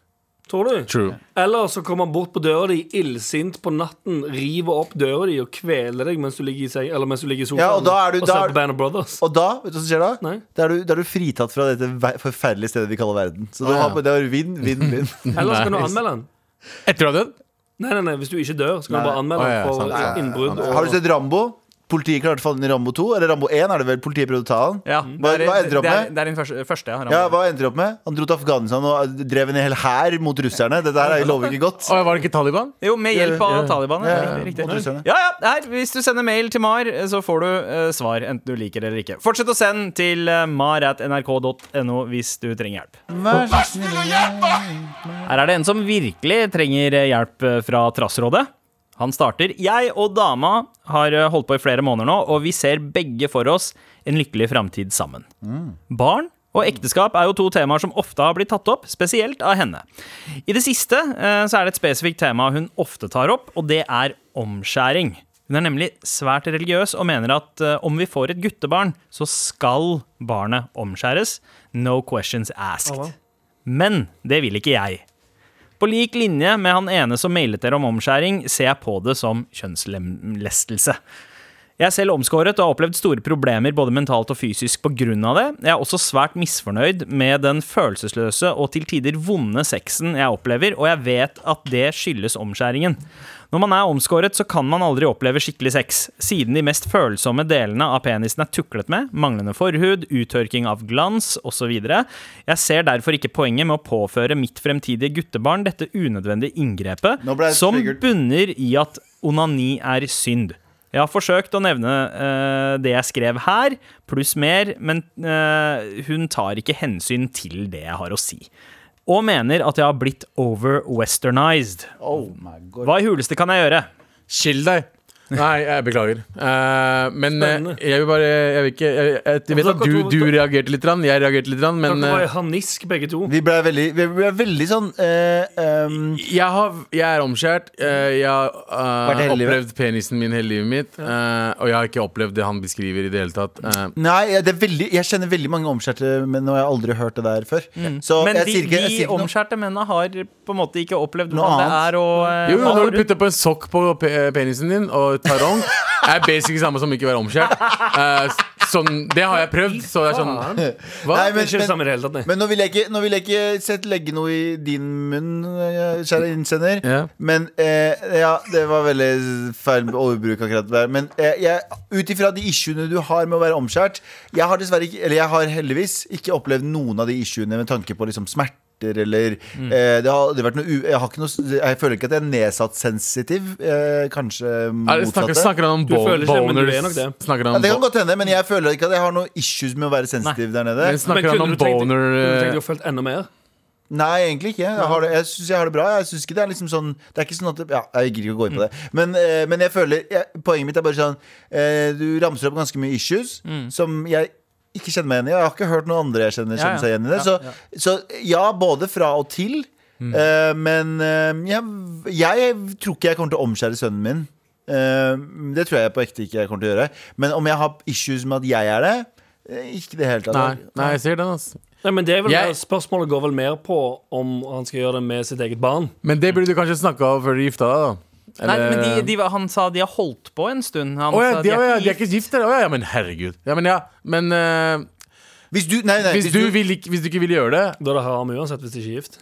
S5: Tror du?
S4: True.
S5: Eller så kommer han bort på døra di illsint på natten, river opp døra di og kveler deg mens du ligger i, seng, eller mens du ligger i sofaen
S3: Ja, og da er du- da er-
S5: ser på Band of Brothers.
S3: Og da, vet du hva som skjer da?
S5: Nei.
S3: Da er, du, da er du fritatt fra dette ve- forferdelige stedet vi kaller verden. Så du
S4: Ah, ja.
S3: har, det er vinn, vinn, vinn.
S5: Eller så kan du
S4: Nice.
S5: anmelde han.
S4: Etter du har dødd?
S5: Nei, nei, nei, hvis du ikke dør, så kan
S3: Nei.
S5: du bare anmelde
S4: Å, ja,
S5: han for
S4: sant, sant, sant.
S5: innbrudd. og-
S3: Har du sett Rambo? Politiet klarte å falle inn i Rambo 2. Eller Rambo 1 er det vel. Politiet prøvde å ta han.
S2: Ja,
S3: Hva-
S2: det er-
S3: hva endte du opp
S2: det er-
S3: med?
S2: Det er din første, første ja, Rambo.
S3: Ja, Hva endte de opp med? Han dro til Afghanistan og eh, drev en hel hær mot russerne. Dette her er- lover ikke godt.
S4: Å, var det ikke Taliban?
S2: Jo, med hjelp av
S4: Ja, ja.
S2: Taliban. Ja,
S3: Ja, ja,
S2: riktig,
S3: mot
S2: riktig.
S3: russerne.
S2: ja, ja, her, Hvis du sender mail til MAR, eh, så får du eh, svar, enten du liker det eller ikke. Fortsett å sende til eh, mar.nrk.no hvis du trenger hjelp. Her er det en som virkelig trenger eh, hjelp eh, fra Trassrådet. Han starter. Jeg og dama har eh, holdt på i flere måneder nå, og vi ser begge for oss en lykkelig framtid sammen. Barn og ekteskap er jo to temaer som ofte har blitt tatt opp, spesielt av henne. I det siste eh, så er det et spesifikt tema hun ofte tar opp, og det er omskjæring. Hun er nemlig svært religiøs og mener at eh, om vi får et guttebarn, så skal barnet omskjæres. No questions asked. Men det vil ikke jeg. På lik linje med han ene som mailet dere om omskjæring, ser jeg på det som kjønnslestelse. Jeg er selv omskåret og har opplevd store problemer både mentalt og fysisk pga. det. Jeg er også svært misfornøyd med den følelsesløse og til tider vonde sexen jeg opplever, og jeg vet at det skyldes omskjæringen. Når man er omskåret, så kan man aldri oppleve skikkelig sex, siden de mest følsomme delene av penisen er tuklet med, manglende forhud, uttørking av glans osv. Jeg ser derfor ikke poenget med å påføre mitt fremtidige guttebarn dette unødvendige inngrepet,
S3: Nå ble jeg
S2: som
S3: triggert.
S2: bunner i at onani er synd. Jeg har forsøkt å nevne eh, det jeg skrev her, pluss mer, men eh, hun tar ikke hensyn til det jeg har å si. Og mener at jeg har blitt over-westernized.
S3: Oh my god.
S2: Hva i huleste kan jeg gjøre?
S4: Chill deg. Nei, jeg beklager. Eh, men eh, jeg vil bare Jeg vil ikke Jeg, jeg, jeg vet at du, du reagerte litt, grann, jeg reagerte litt, grann, men
S5: Dere var
S4: eh,
S5: i harnisk, begge to.
S3: Vi ble veldig, vi ble veldig sånn eh, ehm,
S4: jeg, har, jeg er omskjært. eh, Jeg har
S3: Vært
S4: eh,
S3: hele livet.
S4: opplevd penisen min hele livet mitt. eh, og jeg har ikke opplevd det han beskriver i det hele tatt. Eh,
S3: Nei, det er veldig, jeg kjenner veldig mange omskjærte menn, og jeg har aldri hørt det der før. Så
S2: Mm. Men
S3: jeg
S2: de,
S3: sier ikke, jeg
S2: de
S3: sier ikke noe.
S2: omskjærte mennene har på en måte ikke opplevd
S3: Noe
S2: hvordan det
S3: annet.
S2: er å eh,
S4: jo, jo,
S2: ha
S4: når du
S2: rundt.
S4: putter på en sokk på pe- penisen din og tarong, er basic samme som ikke å være omskjært. Eh, sånn, det har jeg prøvd, så det er sånn Hva?
S3: Nei,
S5: Det er ikke det
S3: men,
S5: samme i det hele tatt, nei.
S3: men nå vil jeg ikke, nå vil jeg ikke sett, legge noe i din munn, eh, kjære innsender.
S4: Ja.
S3: Men eh, ja, det var veldig feil overbruk akkurat der. Men eh, jeg, ut ifra de issuene du har med å være omskjært Jeg har dessverre ikke, eller jeg har heldigvis ikke opplevd noen av de issuene med tanke på liksom smerter eller
S4: Mm.
S3: eh, det har, aldri vært noe, u- jeg, har ikke noe, jeg føler ikke at jeg er nedsatt sensitiv. Eh, kanskje
S4: Er det- snakker,
S3: motsatte.
S4: snakker han om
S5: Du
S4: bo-
S5: føler ikke det, men du er nok
S4: boners?
S5: det.
S4: Snakker han
S3: Ja,
S4: om
S3: det kan
S4: bo-
S3: godt hende, men jeg føler ikke at jeg har noen issues med å være sensitiv der nede.
S4: men snakker han om
S5: du tenkt-
S4: boner
S5: kunne du
S4: eh,
S5: tenkt deg å følt enda mer?
S3: Nei, egentlig ikke. Jeg, har det, jeg syns jeg har det bra. Jeg synes ikke det er liksom sånn Det er ikke sånn at Ja, jeg gidder ikke å gå inn på det.
S2: Mm.
S3: Men, eh, men jeg føler jeg, Poenget mitt er bare sånn eh, Du ramser opp ganske mye issues som jeg ikke kjenner meg igjen i. Jeg har ikke hørt noen andre jeg
S2: Mm. Ja,
S3: kjenner
S2: ja.
S3: kjenne seg igjen i det.
S2: Ja, Mm.
S3: Så, så ja, både fra og til. Eh, men eh, jeg, jeg tror ikke jeg kommer til å omskjære sønnen min. Eh, det tror jeg på ekte ikke jeg kommer til å gjøre. Men om jeg har issues med at jeg er det eh, Ikke i det hele tatt.
S4: Nei, nei, jeg ser den, altså.
S5: Nei, men det er vel
S4: Jeg-
S5: Spørsmålet går vel mer på om han skal gjøre det med sitt eget barn.
S4: Men det burde du kanskje snakka om før du gifta deg, da.
S2: Nei, men de,
S4: Eller-
S2: de, han sa de har holdt på en stund. Han
S4: Å ja,
S2: sa
S4: de, å ja, de er
S2: gift.
S4: ikke gift, eller? Å ja, ja, men herregud. Ja, men ja, men eh,
S3: Eh, Hvis du, nei, nei,
S4: hvis, du vil, ikke- hvis du ikke vil gjøre det
S5: Da er det haram uansett hvis de ikke er gift.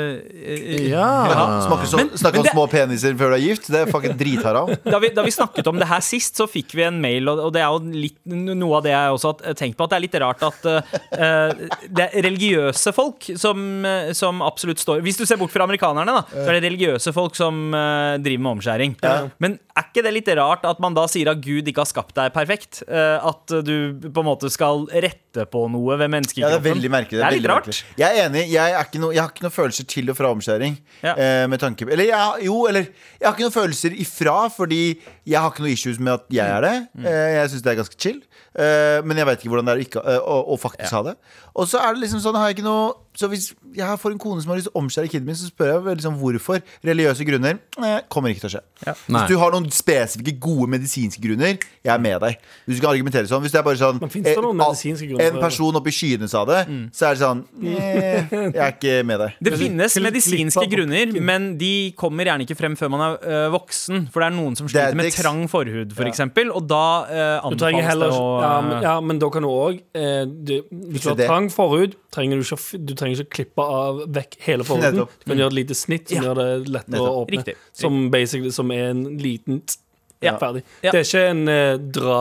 S2: Eh, eh,
S4: Ja.
S3: Snakke, så, snakke om små peniser før du er gift. Det er fucking dritharam.
S2: da, vi, da vi snakket om det her sist, så fikk vi en mail, og, og det er jo litt, noe av det jeg også har tenkt på, at det er litt rart at eh, eh, det er religiøse folk som, eh, som absolutt står Hvis du ser bort fra amerikanerne, da, så er det religiøse folk som eh, driver med omskjæring. Men er ikke det litt rart at man da sier at Gud ikke har skapt deg perfekt? Eh, at du på en måte skal rette på noe ved
S3: Ja, det er
S2: menneskekroppen?
S3: veldig merkelig. Det er
S2: litt
S3: veldig
S2: rart.
S3: merkelig. Jeg er enig. Jeg, er ikke noe, jeg har ikke noen følelser til og fra omskjæring.
S2: Ja.
S3: Eh, med tanke på Eller jeg, har- jo, eller Jeg har ikke noen følelser ifra, fordi jeg har ikke noe issues med at jeg er det. Eh, jeg syns det er ganske chill. Eh, men jeg veit ikke hvordan det er å ikke, eh, å, å faktisk ha det. Og så er det liksom sånn har jeg ikke noe Så hvis jeg får en kone som har lyst til å omskjære kiden min, så spør jeg vel liksom hvorfor. Religiøse grunner eh, kommer ikke til å skje.
S4: Nei.
S3: Hvis du har noen spesifikke gode medisinske grunner, jeg er med deg. Hvis du kan argumentere sånn Hvis det er bare sånn
S5: Men finnes det
S3: eh,
S5: noen
S3: al-
S5: medisinske grunner for
S3: En
S5: det?
S3: person oppe i skyene sa det, så er det sånn eh, Jeg er ikke med deg.
S2: Det finnes
S5: Klipp-
S2: medisinske
S5: klippa på
S2: grunner, men de kommer gjerne ikke frem før man er ø, voksen. For det er noen som sliter med
S3: Datix.
S2: trang forhud, for eksempel og da ø,
S5: Du trenger
S2: anbefales
S5: heller
S2: det å eh,
S5: ja, men, ja, men da kan du òg eh, du- Hvis du har
S3: det.
S5: trang forhud, trenger du, ikke, å f- du trenger ikke å klippe av vekk hele forhuden.
S3: Nettopp.
S5: Du kan gjøre et lite snitt som
S2: Ja.
S5: gjør det lettere å
S3: Nettopp.
S5: åpne.
S2: Riktig.
S5: Som, basically, som er en liten t-
S2: Ja.
S5: Ferdig.
S2: Ja.
S5: Det er ikke en eh, dra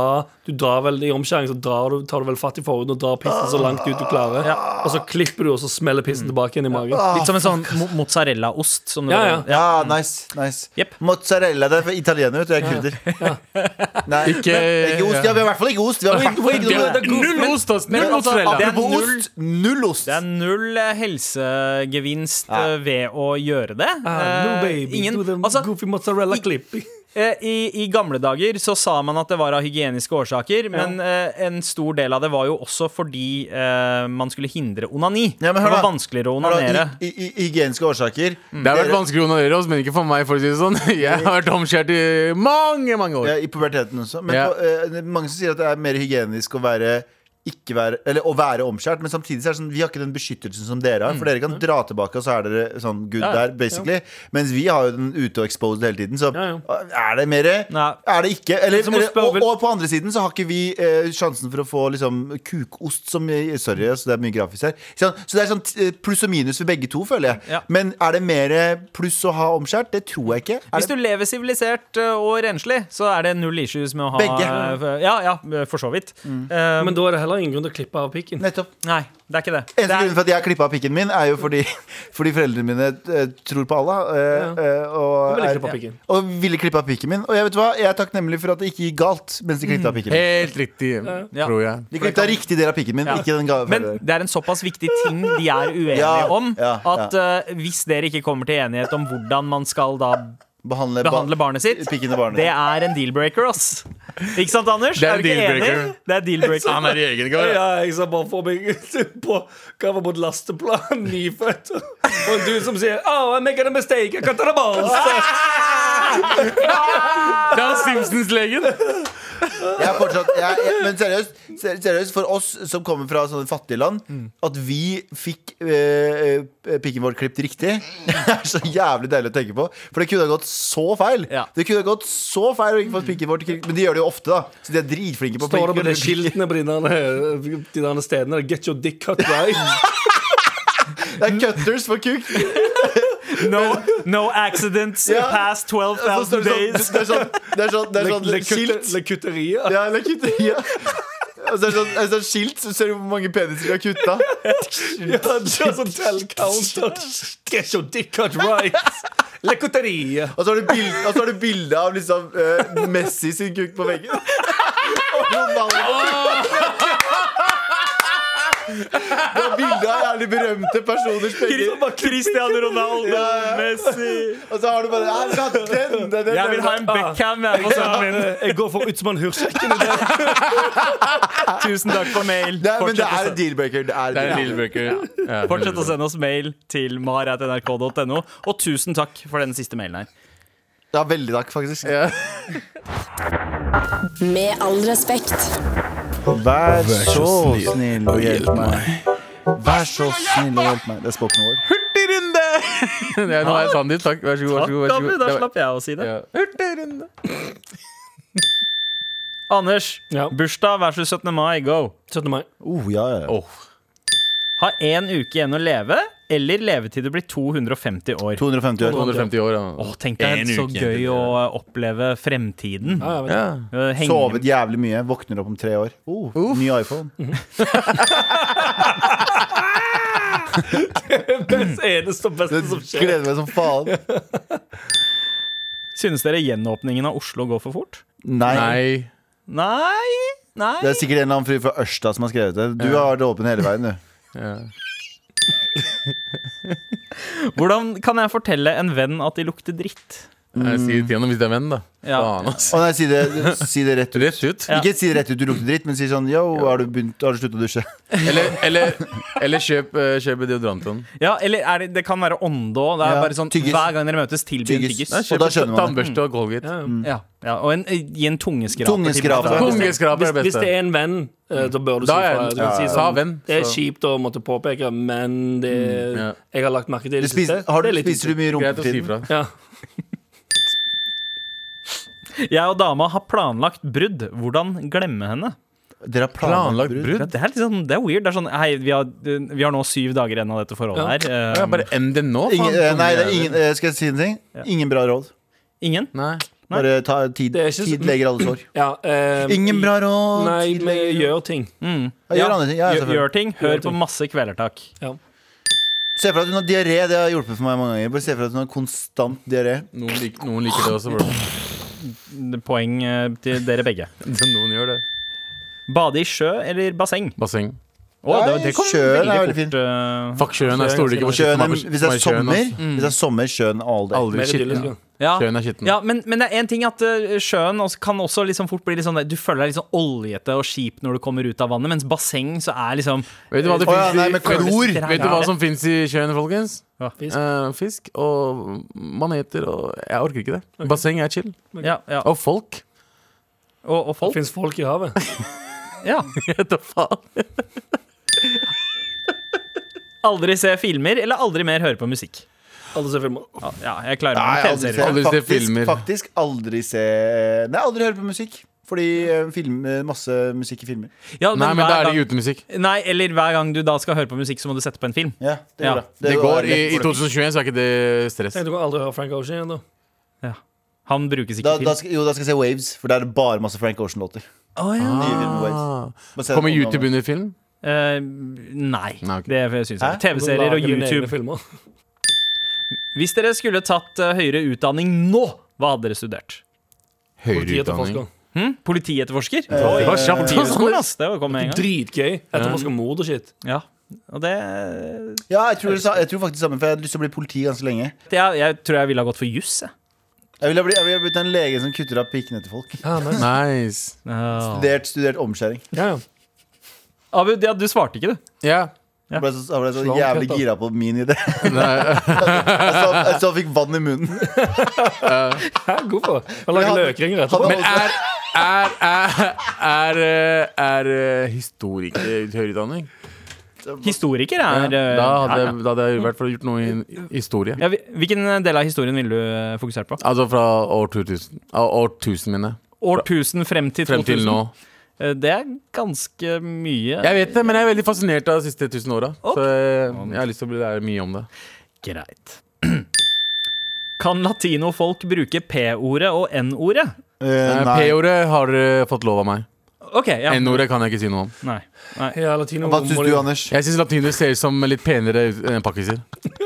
S5: Du drar vel i omskjæring, så drar du, tar du vel fatt i forhuden og drar pissen så langt ut du klarer. Og så klipper du, og så smeller pissen tilbake inn i magen.
S3: Ah.
S2: Litt som en sånn mo mozzarellaost. Som du-
S5: Ja, ja.
S3: Ja, nice. nice.
S2: Jepp.
S3: Mozzarella. Det er for italiener, vet du. Jeg er kurder. Nei,
S4: Ikke-
S3: men ikke ost. Ja, vi har i hvert fall ikke ost. Vi har i hvert fall ikke noe-
S4: Null ost, ass!
S2: Men altså,
S4: Null mozzarella.
S2: det er
S3: Apropos
S2: null-
S3: ost. Null ost.
S2: Det er null ø, helsegevinst
S3: Ja.
S2: ø, ved å gjøre det.
S5: Ah, no,
S2: Eh,
S5: baby,
S2: ingen-
S5: do the
S2: altså,
S5: goofy mozzarella clip.
S2: Eh, I, I gamle dager så sa man at det var av hygieniske årsaker, men eh, en stor del av det var jo også fordi eh, man skulle hindre onani.
S3: Ja,
S2: det
S3: men hør
S2: var
S3: da.
S2: vanskeligere å
S3: Hør da,
S2: onanere.
S3: hy- hy- hy- Hygieniske årsaker.
S4: Det har vært vanskelig å onanere oss, men ikke for meg. for å si det sånn Jeg har vært omskjært i mange mange år.
S3: Ja, I puberteten også. Men
S4: Ja.
S3: på, eh, det er mange som sier at det er mer hygienisk å være ikke være, eller, å være omskjært, men samtidig så er det sånn, vi har ikke den beskyttelsen som dere har. For dere kan dra tilbake, og så er dere sånn
S2: Mm.
S3: good
S2: Ja, ja.
S3: der, basically. Mens vi har jo den ute og exposed hele tiden. Så
S5: Ja,
S3: er det mer?
S2: Nei.
S3: Er det ikke? Eller,
S2: Så må
S3: eller,
S2: spørre
S3: og,
S2: vel-
S3: og på andre siden så har ikke vi eh, sjansen for å få liksom, kukost som Sorry, altså, det er mye grafisk her. Så, så det er sånn t- pluss og minus for begge to, føler jeg.
S2: Ja.
S3: Men er det mer pluss å ha omskjært? Det tror jeg ikke. Er
S2: Hvis du
S3: det,
S2: lever sivilisert ø, og renslig, så er det null issues med å ha
S3: Begge. Mm.
S2: Ja, ja, for så vidt. Eh,
S5: Men da er det heller ingen grunn til å klippe av pikken.
S3: nettopp.
S2: nei, det er ikke det. det
S3: Eneste
S2: er,
S3: grunnen for at jeg klippa pikken min, er jo fordi, fordi foreldrene mine eh, tror på Allah. eh, eh,
S5: Du
S3: og,
S5: ville
S3: er-
S5: klippe av pikken.
S3: og ville klippe av pikken min. Og jeg vet hva, jeg er takknemlig for at det ikke gikk galt mens de
S2: Mm.
S3: klippet av pikken min.
S4: Helt riktig, tror jeg.
S3: De klippet av riktig del av pikken min,
S2: Ja.
S3: ikke den gale.
S2: men det er en såpass viktig ting de er uenige
S3: Ja,
S2: om,
S3: ja, ja.
S2: at ø, hvis dere ikke kommer til enighet om hvordan man skal da
S3: Behandle, ba-
S2: behandle barnet sitt,
S3: Pikken og barnet.
S2: det er en deal-breaker, ass. Ikke sant, Anders?
S4: Det er en
S2: du ikke
S4: deal-breaker.
S2: enig? Det er deal-breaker.
S4: Han er i egen gard.
S5: Ja, jeg ser bare for meg på hva var på et lasteplan, nyfødt, og en dude som sier Oh, I'm making a mistake, I can't balls.
S4: Det er Simpsons-legen.
S3: Jeg er fortsatt, jeg, jeg, men seriøst, ser- seriøst, for oss som kommer fra sånne fattige land, at vi fikk eh, eh, pikken vår klippet riktig, er så jævlig deilig å tenke på. For det kunne ha gått så feil.
S2: Ja.
S3: Det kunne ha gått så feil å ikke få pikken vår klippet Men de gjør det jo ofte, da. Så de er dritflinke på
S5: Står det på de
S3: pikken.
S5: skiltene på de der, eh, de der stedene Get your dick cut right.
S3: Det er cutters for kuk.
S2: No, no accidents
S3: Ja.
S2: past
S3: Så
S2: 12,000
S3: står det
S2: days.
S3: sånn Det er sånn, det er sånn, det er sånn,
S5: Le
S3: skilt.
S5: kutte- le kutteria.
S3: Ja, eller kutte ja. Og så er det sånn, et sånt skilt, så ser du hvor mange peniser de har kutta.
S5: Ja, det er sånn tell counter. Get your dick cut right. Le kutteria.
S3: Og så har du bild- og så har du bilde av liksom, eh, Messi sin kuk på veggen. Og Ronaldo. Det er bilde av jævlig berømte personers penger.
S2: Cristiano Ronaldo,
S3: sånn, Ja, ja.
S2: Messi
S3: Og så har du bare Jeg vil ha den! den, den
S2: Jeg vil ha en Beckham jeg, på sønnen min.
S5: Jeg går for Utsmann Hursek.
S2: Tusen takk for mail.
S3: Nei, men det
S2: Fortsett å
S3: er
S2: sende-
S3: en deal-breaker. Det er
S4: Det
S3: en
S4: er
S3: deal
S4: Lillebreaker.
S2: Fortsett å sende oss mail til mar.nrk.no. Og tusen takk for den siste mailen her.
S3: ja, veldig takk, faktisk.
S1: Med all respekt.
S3: Vær så snill og hjelp meg. Vær så snill og hjelp meg. Det er spoken word.
S4: Hurtigrunde! Ja, nå er jeg sann takk. Vær så god. Vær
S2: Takk,
S4: så god, vær så
S2: David.
S4: god.
S2: Da slapp jeg å si det.
S4: Ja. Hurtigrunde.
S2: Anders,
S5: Ja.
S2: bursdag versus 17. mai, go.
S5: 17. mai.
S3: Oh, ja, ja.
S4: Åh.
S2: Ha én uke igjen å leve, eller leve til du blir 250 år.
S3: 250 år.
S4: 250 år. Ja.
S2: Åh, tenk deg
S4: En
S2: så
S4: uke igjen til
S2: gøy
S4: det.
S2: å oppleve fremtiden.
S5: Ja, jeg vet.
S4: Ja.
S2: Eh, henge-
S3: Sovet jævlig mye. Våkner opp om tre år. Oh, ny iPhone.
S5: Best eneste og beste som skjer.
S3: Gleder meg som faen.
S2: Synes dere gjenåpningen av Oslo går for fort?
S3: Nei.
S4: Nei.
S2: Nei. Nei.
S3: Det er sikkert en eller annen fyr fra Ørsta som har skrevet det. Du har vært åpen hele veien, du.
S4: Ja.
S2: Hvordan kan jeg fortelle en venn at de lukter dritt?
S4: Jeg sier det til ham hvis det er venn, da.
S2: Ja.
S4: Faen, ass.
S3: Å nei, si det, si det rett ut.
S4: Rett ut.
S2: Ja.
S3: Ikke si det rett ut, du lukter dritt, men si sånn yo, har du, begynt, har du sluttet å dusje?
S4: Eller, eller, eller kjøp, eh, kjøp deodorant til ham.
S2: Ja, eller er det, det kan være ånde òg. Det er
S3: Ja,
S2: bare sånn
S3: tyggis.
S2: hver gang dere møtes, tilby en
S3: Tyggis.
S2: tyggis.
S3: Nei,
S4: Kjøp
S3: da skjønner man det.
S4: Tannbørste og Colgate.
S2: Ja, ja, og en, gi en tungeskraper.
S3: Tungeskraper.
S2: til meg.
S4: Kongeskraper
S5: Hvis,
S4: er det
S5: hvis det
S4: beste.
S5: er en venn, eh, da bør du
S4: Da
S5: si
S4: er
S5: fra.
S4: en-
S5: Du kan
S4: ja,
S5: si
S4: ja.
S5: sånn,
S4: Sa venn,
S5: Det er
S4: så-
S5: kjipt å måtte påpeke, men det
S4: ja.
S5: Jeg har lagt merke til
S3: Du
S5: det
S3: spiser,
S5: siste.
S3: har du,
S5: Det er litt
S3: spiser du mye
S4: Greit å si
S3: rumpetid?
S4: fra.
S5: Ja.
S2: Jeg og dama har planlagt brudd. Hvordan glemme henne?
S3: Dere har planlagt
S4: Planlagt
S3: brudd?
S4: brudd.
S2: Det er, litt sånn, det er weird. Det er sånn, hei, vi har, vi har nå syv dager igjen av dette forholdet her.
S4: Ja,
S2: Eh,
S4: bare end det nå, faen.
S3: Ingen, eh, nei, det er ingen, eh, skal jeg si en ting? Ingen bra råd.
S2: ingen?
S4: Nei.
S3: Bare ta tid.
S5: Det er ikke så-
S3: Tid leger alle sår.
S5: Ja, eh,
S3: Ingen bra råd.
S5: Nei,
S3: tid
S5: vi
S3: leger-
S5: gjør ting.
S3: Ja, Gjør andre ting. Ja,
S2: Gjør,
S3: selvfølgelig.
S2: gjør ting. Hør på masse kvelertak.
S5: Ja.
S3: Se for deg at hun har diaré. Det har hjulpet for meg mange ganger. Bare se for deg at hun har konstant diaré.
S4: Noen, lik, noen liker det også, bro.
S2: Poeng eh, til dere begge.
S4: Noen gjør det.
S2: Bade i sjø eller basseng?
S4: Basseng.
S2: Å, det, det kom
S3: Nei, sjøen
S2: veldig
S3: er veldig
S2: fort,
S3: fin.
S2: eh,
S4: Fuck sjøen, jeg stoler ikke på
S3: Sjøen, er-
S4: Som
S3: hvis det
S4: som
S3: er
S4: sjøen,
S3: sommer,
S4: ass.
S3: hvis det er sommer, sjøen all day.
S4: altså. Aldri
S5: Mer
S4: shit.
S5: idyllisk. ja.
S2: ja.
S4: Sjøen er skitten.
S2: Ja, men, men det er en ting at eh, sjøen også, kan også liksom fort bli litt sånn der- Du føler deg litt sånn oljete og kjip når du kommer ut av vannet, mens basseng så er liksom
S4: Vet du hva det
S3: Å ja,
S4: finnes
S3: nei,
S4: i
S3: med klor!
S4: Vet vet du hva som fins i sjøen, folkens?
S5: Fisk.
S4: Eh, fisk og maneter og Jeg orker ikke det. Basseng er chill.
S2: Ja, ja.
S4: Og folk.
S2: Og, og
S5: Det
S2: folk.
S5: fins folk i havet.
S2: Ja,
S4: Jeg tar faen.
S2: Aldri se filmer eller aldri mer høre på musikk.
S5: Alle ser filmer.
S2: Ja, Ja, jeg klarer
S3: Nei,
S2: meg med
S3: aldri se,
S2: TV-serier.
S4: Aldri se
S3: faktisk,
S4: filmer.
S3: faktisk aldri se Nei, aldri høre på musikk. Fordi eh, film, eh, masse musikk i filmer.
S2: Ja,
S4: Nei, men
S2: hver
S4: da er
S2: gang-
S4: det ikke uten musikk.
S2: Nei, eller hver gang du da skal høre på musikk, så må du sette på en film.
S3: Ja,
S2: Ja.
S3: det, gjør det.
S4: Det
S3: er
S4: går i,
S3: lett
S4: I
S3: for deg.
S4: 2021 så er ikke det stress.
S5: Tenk, du kan aldri høre Frank Ocean igjen, da.
S2: Han brukes ikke
S3: Da,
S2: til
S3: da skal, jo, da skal jeg se Waves, for der er det bare masse Frank Ocean-låter.
S2: Å, ja.
S3: Nye filmer, Waves.
S4: Ah.
S3: Bare se
S4: Kommer
S3: den om
S4: YouTube
S3: gangen.
S4: under film?
S2: Eh, Nei,
S4: Nei, ok.
S2: det syns jeg.
S3: Hæ?
S2: TV-serier og
S5: Lager dine egne
S2: YouTube.
S5: filmer.
S2: Hvis dere skulle tatt eh, høyere utdanning nå, hva hadde dere studert?
S4: Høyere
S5: Politiet
S4: utdanning.
S5: etterforsker.
S2: Hm? Politietterforsker?
S3: Eh,
S2: Oi,
S3: det var kjapt.
S2: Politihøgskolen, ass. Det kom med en gang.
S5: Dritgøy. Etterforsker mord og shit.
S2: Ja. Og det
S3: Ja, jeg tror, det sa- jeg tror faktisk det samme, for jeg hadde lyst til å bli politi ganske lenge.
S2: Jeg, jeg tror jeg ville ha gått for juss, jeg.
S3: Jeg ville bli, jeg ville blitt en lege som kutter av pikkene til folk.
S5: Ja, nice.
S4: Nice.
S2: Ja.
S3: Studert, studert omskjæring.
S5: ja, ja.
S2: Abu, ja, du svarte ikke, du.
S4: Ja.
S2: Ja.
S3: Jeg ble så, jeg ble så
S5: Slank,
S3: jævlig
S5: helt da.
S3: gira på min idé. jeg, så, jeg så jeg fikk vann i munnen.
S5: Hæ, hvorfor? Han
S3: Men
S5: lager
S3: han-
S5: løkringer
S3: han-
S5: etterpå.
S4: Men er, er, er, er, er, er historikere høyere utdanning?
S2: Historiker er eh,
S4: Da hadde,
S2: ja, ja.
S4: jeg- da hadde jeg i hvert fall gjort noe i i historie.
S2: Ja, hvil- Hvilken del av historien ville du eh, fokusert på?
S4: Altså fra år 2000. Av årtusenminnet.
S2: Årtusen frem til 2000?
S4: Frem til nå.
S2: Eh, Det er ganske mye.
S4: Jeg vet det, men jeg er veldig fascinert av de siste tusen åra.
S2: Ok.
S4: Så jeg, jeg har lyst til å bli lære mye om det.
S2: Greit. Kan latinofolk bruke p-ordet og n-ordet?
S3: Eh,
S4: Eh,
S3: nei.
S4: P-ordet har dere fått lov av meg.
S2: OK. ja
S4: N-ordet kan jeg ikke si noe om.
S2: Nei. Nei.
S5: Ja, latino
S3: Hva syns
S5: må
S3: du,
S5: jo-
S3: Anders?
S4: Jeg syns latinere ser ut som litt penere ut enn pakkiser.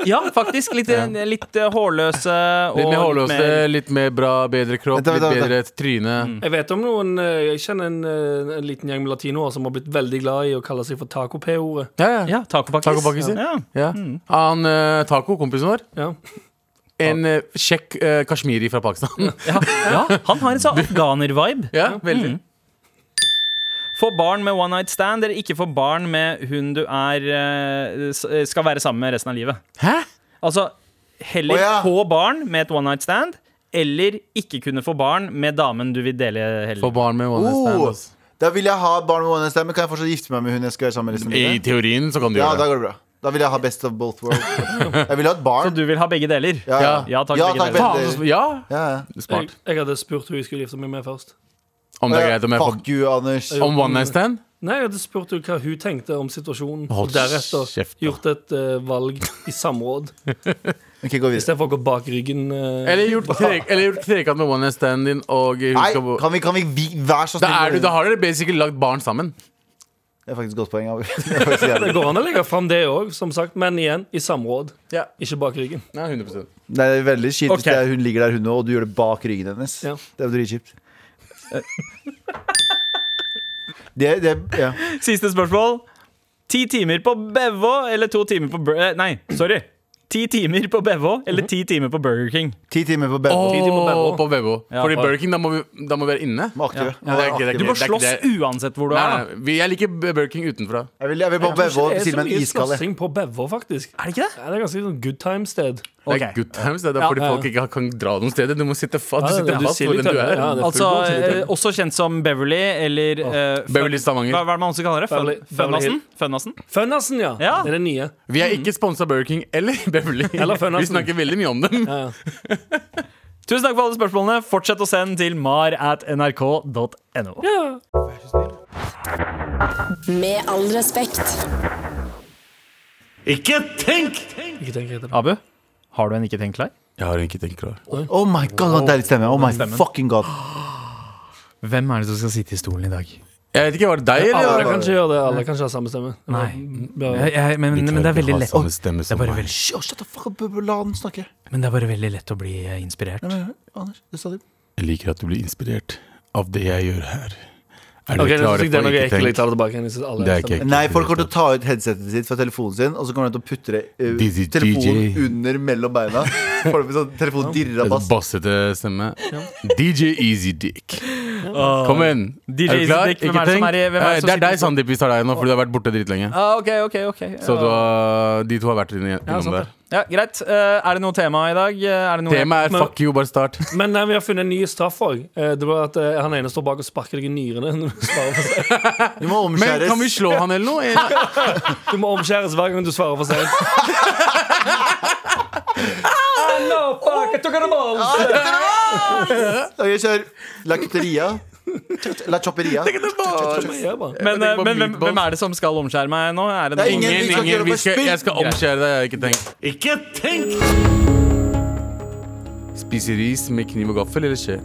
S2: Ja, faktisk. Litt, litt eh, hårløse og
S4: Litt mer hårløse,
S2: mer- Mm.
S4: litt mer bra, bedre kropp,
S3: Vent,
S4: litt
S3: vent, vent,
S4: bedre tryne.
S5: Jeg vet om noen eh, Jeg kjenner en, eh, en liten gjeng med latinoer som har blitt veldig glad i å kalle seg for taco-p-ordet.
S4: Ja, ja.
S2: Ja, Mm. tacopakkis.
S4: Tacopakkiser.
S2: Ja.
S4: ja. Han eh, Taco, kompisen vår,
S5: Ja.
S4: en eh, kjekk eh, kashmiri fra Pakistan.
S2: Ja. ja, han har en sånn afghaner-vibe.
S4: ja, veldig.
S2: Få barn med one night stand, eller ikke få barn med hun du er eh, s- eh, skal være sammen med resten av livet.
S4: Hæ?
S2: Altså heller
S3: Å, ja.
S2: få barn med et one night stand, eller ikke kunne få barn med damen du vil dele hele
S4: Få barn med one night stand. altså.
S3: Oh,
S4: ass.
S3: da vil jeg ha barn med one night stand, men kan jeg fortsatt gifte meg med hun jeg skal være sammen med resten av
S4: I
S3: livet?
S4: teorien så kan du
S3: Ja, da
S4: gjøre det.
S3: går det bra. Da vil jeg ha best of both worlds. Jeg vil ha et barn.
S2: Så du vil ha begge deler?
S3: Ja, ja.
S2: Ja takk,
S3: Ja,
S2: begge
S3: takk,
S2: deler.
S4: Faen, så sp- ja,
S3: ja, ja.
S5: Jeg,
S4: smart.
S5: jeg hadde spurt hun jeg skulle gifte meg med først.
S4: Om det er greit om jeg får
S3: Fuck you, Anders.
S4: Om one night stand?
S5: Nei, jeg hadde spurt henne hva hun tenkte om situasjonen.
S4: Hold
S5: og deretter
S4: kjeft, da.
S5: gjort et eh, valg i samråd.
S3: Ok, gå videre.
S5: Istedenfor å gå bak ryggen. eh,
S4: Eller gjort, tre, eller gjort trekant med one night stand din og hun
S3: Nei,
S4: skal bo
S3: kan vi, kan vi, vi vær så
S4: da, er du,
S3: snill.
S4: da har dere basically lagd barn sammen.
S3: Det er faktisk et godt poeng. Abu. Det er faktisk
S5: Det
S3: jævlig.
S5: går an å legge fram det òg, som sagt, men igjen i samråd.
S4: Ja.
S5: Ikke bak ryggen.
S4: Nei, 100
S3: Nei, det er veldig kjipt hvis
S2: Ok.
S3: det er hun ligger der hun nå, og du gjør det bak ryggen hennes.
S5: Ja.
S3: Det er jo dritkjipt. Eh. Det, det, ja.
S2: Siste spørsmål. Ti timer på Bevå eller to timer på Bur eh, Nei, sorry. Ti timer på Bevå eller ti timer på Burger King?
S3: Ti timer på Bevå.
S5: Tid på Bebo.
S4: Åh, på Bebo.
S2: Ja,
S4: Fordi
S2: bare-
S4: Burger King, da må vi, da må vi være inne.
S3: Med aktive.
S4: Ja, det er ikke- det er
S2: Du
S4: ikke-
S2: må
S4: det er ikke
S2: slåss
S4: det.
S2: uansett hvor du
S4: Nei,
S2: er. da.
S4: nei, vi- jeg liker Burger King utenfra.
S3: Jeg vil, jeg vil på Bevå ved siden av en iskalle.
S5: sånn slåssing på Bevå, faktisk.
S2: Er det ikke det?
S5: Ja, det er ganske sånn good time-sted.
S4: Det
S2: Ok.
S4: er good times. Det er fordi
S5: Ja, ja, ja.
S4: folk ikke kan dra noen steder. Du må sitte fast, du
S5: Ja,
S4: sitter
S5: ja, du
S4: fast
S5: sier
S4: hvor
S5: litt
S4: enn du
S5: tøft,
S4: er.
S5: ja, det er
S2: Altså,
S5: full god, sier
S2: eh,
S5: litt tøft.
S2: også kjent som Beverly eller eh, Fun-
S4: Beverly Stavanger.
S2: Hva, hva er det man også kaller det? Fun,
S5: Beverly-
S2: Funnassen? Funnassen?
S5: Fønnassen, ja.
S2: Ja.
S5: Det er det nye.
S4: Vi er ikke sponsa Burger King eller Beverly.
S5: Eller Fønassen.
S4: vi snakker veldig mye om dem.
S5: Ja, ja.
S2: Tusen takk for alle spørsmålene. Fortsett å sende til mar at nrk.no.
S1: Med all respekt.
S4: Ikke tenk!
S5: Ikke tenk etter.
S2: Abu, har du en ikke tenkt klar?
S4: Jeg har ikke tenkt klar.
S3: Oh my god, så deilig stemme. Oh my fucking god.
S2: Hvem er det som skal sitte i stolen i dag?
S4: Jeg vet ikke, var det deg
S5: Alle
S4: eller?
S5: kan ikke gjøre det. Alle kan ikke ha samme stemme.
S2: Nei.
S5: Bare-
S2: men, det er veldig lett
S4: Samme stemme som meg.
S3: Shh, oh, shut the fuck up, la den snakke.
S2: Men det er bare veldig lett å bli eh, inspirert.
S3: Nei, men, Anders, det sa du.
S4: Jeg liker at du blir inspirert av det jeg gjør her. Er
S5: Ok,
S4: dere
S5: jeg synes det
S4: klare
S5: er
S4: for
S5: noe
S4: ikke
S5: ekkelt. Jeg
S4: tenk?
S5: tar det tilbake. igjen. Jeg synes alle
S4: Det er
S5: stemmer.
S4: ikke ekkelt.
S3: Nei, folk kommer til å ta ut headsetet sitt fra telefonen sin, og så kommer de til å putte det, eh,
S4: Dizzy
S3: telefonen
S4: DJ.
S3: under mellom beina. Så Får de sånn telefon dirrer av
S4: Det er
S3: bass.
S4: Bassete stemme. DJ Easy Dick. Kom igjen.
S2: DJ Easy Dick, hvem er det som er i- hvem er det
S4: Eh,
S2: som
S4: Det er
S2: sitter-
S4: deg, Sandeep, vi tar deg nå, for du har vært borte dritlenge.
S2: Ah, ok, ok, ok
S4: Så du har, de to har vært inne-
S5: Ja,
S4: innom
S5: sant
S4: der.
S5: det.
S2: Ja, greit. Eh, er det noe tema i dag? Eh, Er det noe
S4: Temaet er
S5: Men-
S4: fuck you, bare start.
S5: Men eh, vi har funnet en ny straff òg. Det var at eh, han ene står bak og sparker deg i nyrene. når Du, svarer for sent.
S3: Du må
S4: Men kan vi
S3: omskjæres.
S4: slå han eller noe?
S5: du må omskjæres hver gang du svarer for sent. Ah, no, fuck, jeg tok en ball.
S3: Ok, kjør Lakteria. La chopperia.
S5: Men jeg
S2: Men, eh,
S5: bare-
S4: Jeg tenker på
S2: men hvem,
S4: meatballs.
S2: hvem er det som skal omskjære meg nå? Er det
S3: Det er
S2: noen-
S3: ingen- vi skal ikke gjøre det på spill.
S4: jeg skal omskjære deg, jeg har ikke tenkt.
S6: Ikke tenk!
S4: Spise ris med kniv og gaffel eller skje?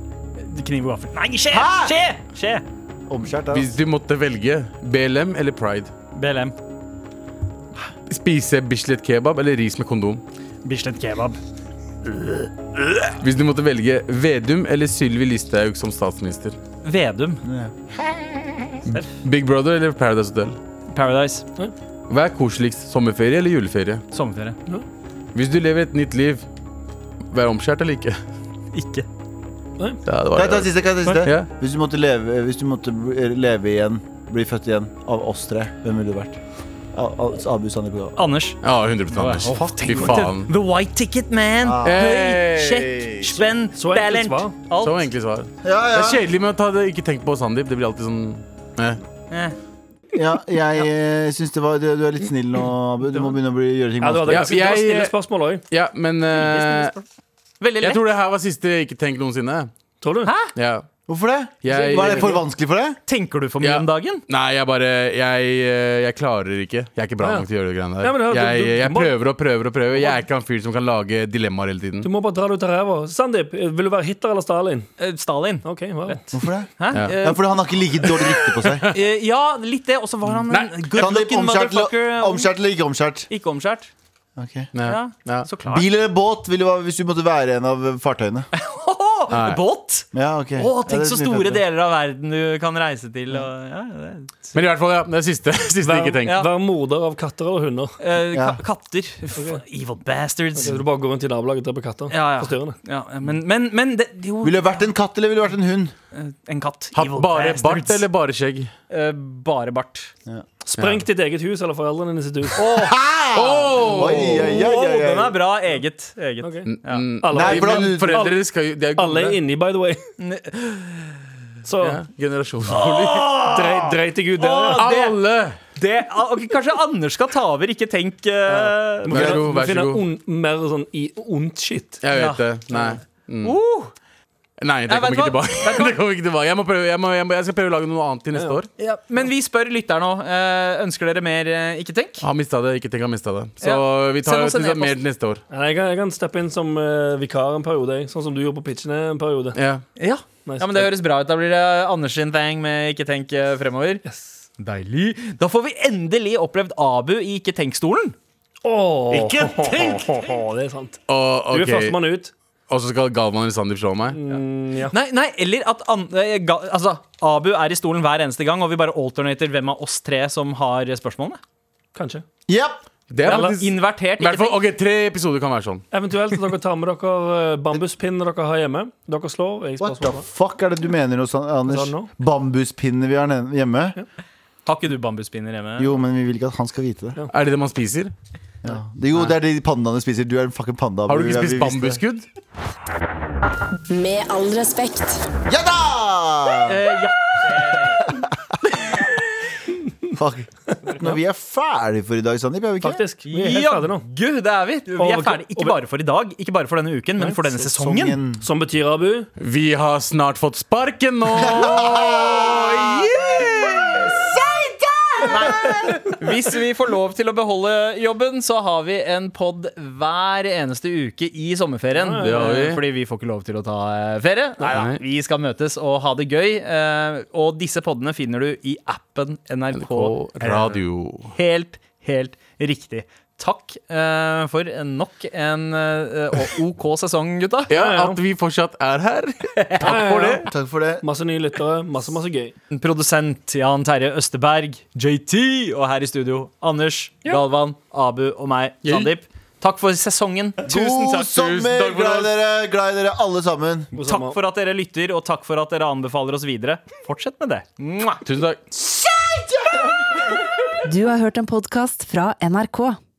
S2: Kniv og gaffel. Nei, skje! Skje! skje!
S3: Omskjært, da.
S4: Hvis du måtte velge BLM eller Pride?
S2: BLM.
S4: Spise Bislett kebab eller ris med kondom?
S2: Bislett kebab.
S4: Hvis du måtte velge Vedum eller Sylvi Listhaug som statsminister?
S2: Vedum.
S4: Big Brother eller Paradise Hotel?
S2: Paradise.
S4: Hva er koseligst, sommerferie eller juleferie?
S2: Sommerferie.
S4: Hvis du lever et nytt liv, vær omskjært eller ikke?
S2: Ikke.
S4: Ja,
S3: Kan jeg
S4: det
S3: ta
S4: var
S3: en siste? Kan jeg ta en siste?
S4: Ja.
S3: Hvis du måtte leve, eh, hvis du måtte bli- leve igjen, bli født igjen av oss tre, hvem ville du vært? Av- av- Abu Sandeep og
S2: Anders.
S4: Ja, 100 Anders.
S2: Åh,
S4: Fy faen.
S2: The white ticket, man. Høy,
S4: Hey.
S2: kjekk, spenn,
S5: Så enkelt
S2: ballent.
S5: svar.
S2: Alt.
S4: Så enkelt svar.
S3: Ja, ja.
S4: Det er kjedelig med å ta det ikke tenkt på Sandeep. Det blir alltid sånn eh.
S2: Eh.
S3: Ja, jeg eh, syns det var Du du er litt snill nå, Abu. Du må begynne å bli, gjøre ting
S5: Ja, det var det
S4: Ja,
S5: ganske det var
S4: jeg-
S5: stille spørsmål òg.
S4: Ja, men eh,
S2: Veldig
S4: jeg
S2: lett.
S4: tror det her var siste ikke tenk noensinne.
S5: Tror du?
S4: Ja.
S3: Hvorfor det?
S4: Jeg-
S3: var det for vanskelig for deg?
S2: Tenker du for mye
S4: Ja.
S2: om dagen?
S4: Nei, jeg bare jeg, eh, jeg klarer ikke. Jeg er ikke bra
S5: Ja.
S4: nok til å gjøre de greiene
S5: Ja, men da-
S4: der.
S5: du-
S4: Jeg,
S5: du- du
S4: jeg
S5: må-
S4: prøver og prøver og prøver. Jeg er ikke han fyren som kan lage dilemmaer hele tiden.
S5: Du må bare dra det ut av ræva. Sandeep, eh, vil du være Hitler eller Stalin?
S2: Eh, Stalin.
S5: Ok, wow.
S3: Hvorfor det?
S2: Hæ?
S4: Ja.
S2: Eh,
S3: Ja, fordi han har ikke like dårlig rykte på seg.
S2: eh, ja, litt det. Og så var han en good
S3: Sandeep,
S2: looking
S3: omskjært
S2: motherfucker.
S3: eller- omskjært eller ikke omskjært?
S2: Ikke omskjært.
S3: Ok.
S4: Ja.
S2: Ja.
S4: Ja.
S2: Så klart.
S3: Bil eller båt vil du, ha- hvis du måtte være en av fartøyene?
S2: Åh,
S4: Nei.
S2: båt!
S3: Ja, ok
S2: Å, tenk
S3: Ja, det er
S2: så
S3: mye
S2: store
S3: fettere.
S2: deler av verden du kan reise til. Og, ja, det,
S4: Men i hvert fall, ja. Det er siste, siste ikke tenk.
S2: Ja.
S5: Være morder av katter eller hunder.
S2: Eh,
S3: Ja.
S2: ka katter. Uff, Evil bastards.
S5: Så du bare går rundt i nabolaget og dreper katter.
S2: Ja, ja.
S5: Forstyrrende.
S2: Ja, men men, men det, jo, eh,
S3: Ville du vært en katt eller ville du vært en hund?
S2: en katt.
S4: Hatt bare bart eller bare skjegg?
S2: Eh, bare bart.
S5: Sprengt ditt eget hus eller foreldrene dine sitt hus.
S4: Oh!
S3: Oi, oi, oi, oi,
S2: Wow,
S3: oi.
S2: den er bra. Eget. eget.
S5: Ok.
S2: Ja.
S4: Mm.
S5: Alle,
S3: Nei, for da-
S4: Men foreldre skal jo De er jo
S5: alle er
S4: gode.
S5: inni, by the way. Så
S4: Ja. Generasjonsbolig.
S5: drei, dreit deg ut der.
S2: Åh,
S4: Alle!
S2: Det, ah, ok, kanskje Anders skal ta over, ikke tenk eh,
S5: Du må
S4: Vær
S5: finne-
S4: så god,
S5: du må
S4: vær så
S5: finne
S4: god.
S5: ond- mer sånn i ondt shit.
S4: Jeg
S2: Ja.
S4: vet det. Nei.
S2: oh,
S4: Nei, det
S2: Nei, vet
S4: kommer ikke
S2: du hva?
S4: tilbake. Det kommer ikke tilbake Jeg, må prøve, jeg, må, jeg, må, jeg skal prøve å lage noe annet til neste år.
S2: ja. Men vi spør lytterne òg. ønsker dere mer eh, Ikke tenk?
S4: Har mista det. Ikke tenk har mista det. Så
S2: Ja.
S4: vi
S2: Send
S4: tar
S2: oss en
S4: vi tar
S2: e-post.
S4: mer til neste år.
S5: Nei, Jeg kan, jeg kan steppe inn som eh, vikar en periode, jeg. sånn som du gjorde på pitchene en periode.
S4: Ja.
S2: Ja.
S5: Nice.
S2: ja, men Det høres bra ut. Da blir det Anders sin thing med Ikke tenk eh, fremover. Deilig. Da får vi endelig opplevd Abu i Ikke tenk-stolen.
S5: Åh,
S6: Ikke tenk!
S5: det er sant.
S4: Og,
S5: Du er
S4: ok.
S5: førstemann ut.
S4: og så skal Galvan eller Sandeep slå meg?
S5: Mm, ja.
S2: Nei, nei, eller at an, eh, ga, altså, Abu er i stolen hver eneste gang, og vi bare alternater hvem av oss tre som har spørsmålene.
S5: Kanskje.
S3: Japp.
S4: Det er
S2: Eller
S4: faktisk
S2: invertert.
S4: I hvert
S2: Ikke
S4: fall, ok, Tre episoder kan være sånn.
S5: Eventuelt at dere tar med dere eh, bambuspinnen dere har hjemme. Dere slår. Jeg
S3: What the
S5: spørsmål.
S3: fuck er det du mener, hos han-
S5: Hva sa
S3: Anders?
S5: han nå?
S3: Bambuspinner vi har ned- hjemme?
S2: tenk. Har ikke du bambuspinner hjemme?
S3: Jo, men vi vil ikke at han skal vite det.
S4: Er det det man spiser?
S3: Ja. Det, jo, det er de pandaene spiser. Du er en fucking panda.
S4: Har du ikke
S3: Ja, vi
S4: spist
S3: visste det.
S4: bambusskudd?
S1: Med all respekt.
S3: Ja da!
S2: Eh, ja.
S3: Fuck. Når vi er ferdige for i dag, Sandeep, er vi ikke?
S5: Faktisk. Vi er helt ferdige nå.
S2: Gud, det er vi! Vi er
S5: Og-
S2: ferdig ikke
S5: og-
S2: bare for i dag, ikke bare for denne uken, men for denne sesongen.
S3: Sesongen.
S5: Som betyr, Abu
S4: Vi har snart fått sparken nå!
S2: Hvis vi får lov til å beholde jobben, så har vi en pod hver eneste uke i sommerferien. Eh,
S4: Det har vi.
S2: Fordi vi får ikke lov til å ta eh, ferie.
S4: Nei.
S2: Vi skal møtes og ha det gøy. eh, Og disse podene finner du i appen NRK Eh,
S4: På radio.
S2: Helt, helt riktig. Takk eh, for nok en eh, OK sesong, gutta.
S4: Ja, at vi fortsatt er her.
S5: Takk
S4: for det.
S3: Takk for det.
S5: Masse nye lyttere. Masse, masse gøy.
S2: Produsent Jan Terje Østeberg, JT, og her i studio Anders, Galvan, Abu og meg,
S4: Ja.
S2: Sandeep. Takk for sesongen.
S4: Tusen
S3: God
S4: takk, tusen
S3: sommer!
S4: takk for
S3: Glad i
S4: oss.
S3: dere, glad i dere alle sammen.
S5: God
S2: Takk
S5: sommer.
S2: for at dere lytter, og takk for at dere anbefaler oss videre. Fortsett med det. Mwah!
S4: Tusen takk.
S7: Du har hørt en podkast fra NRK.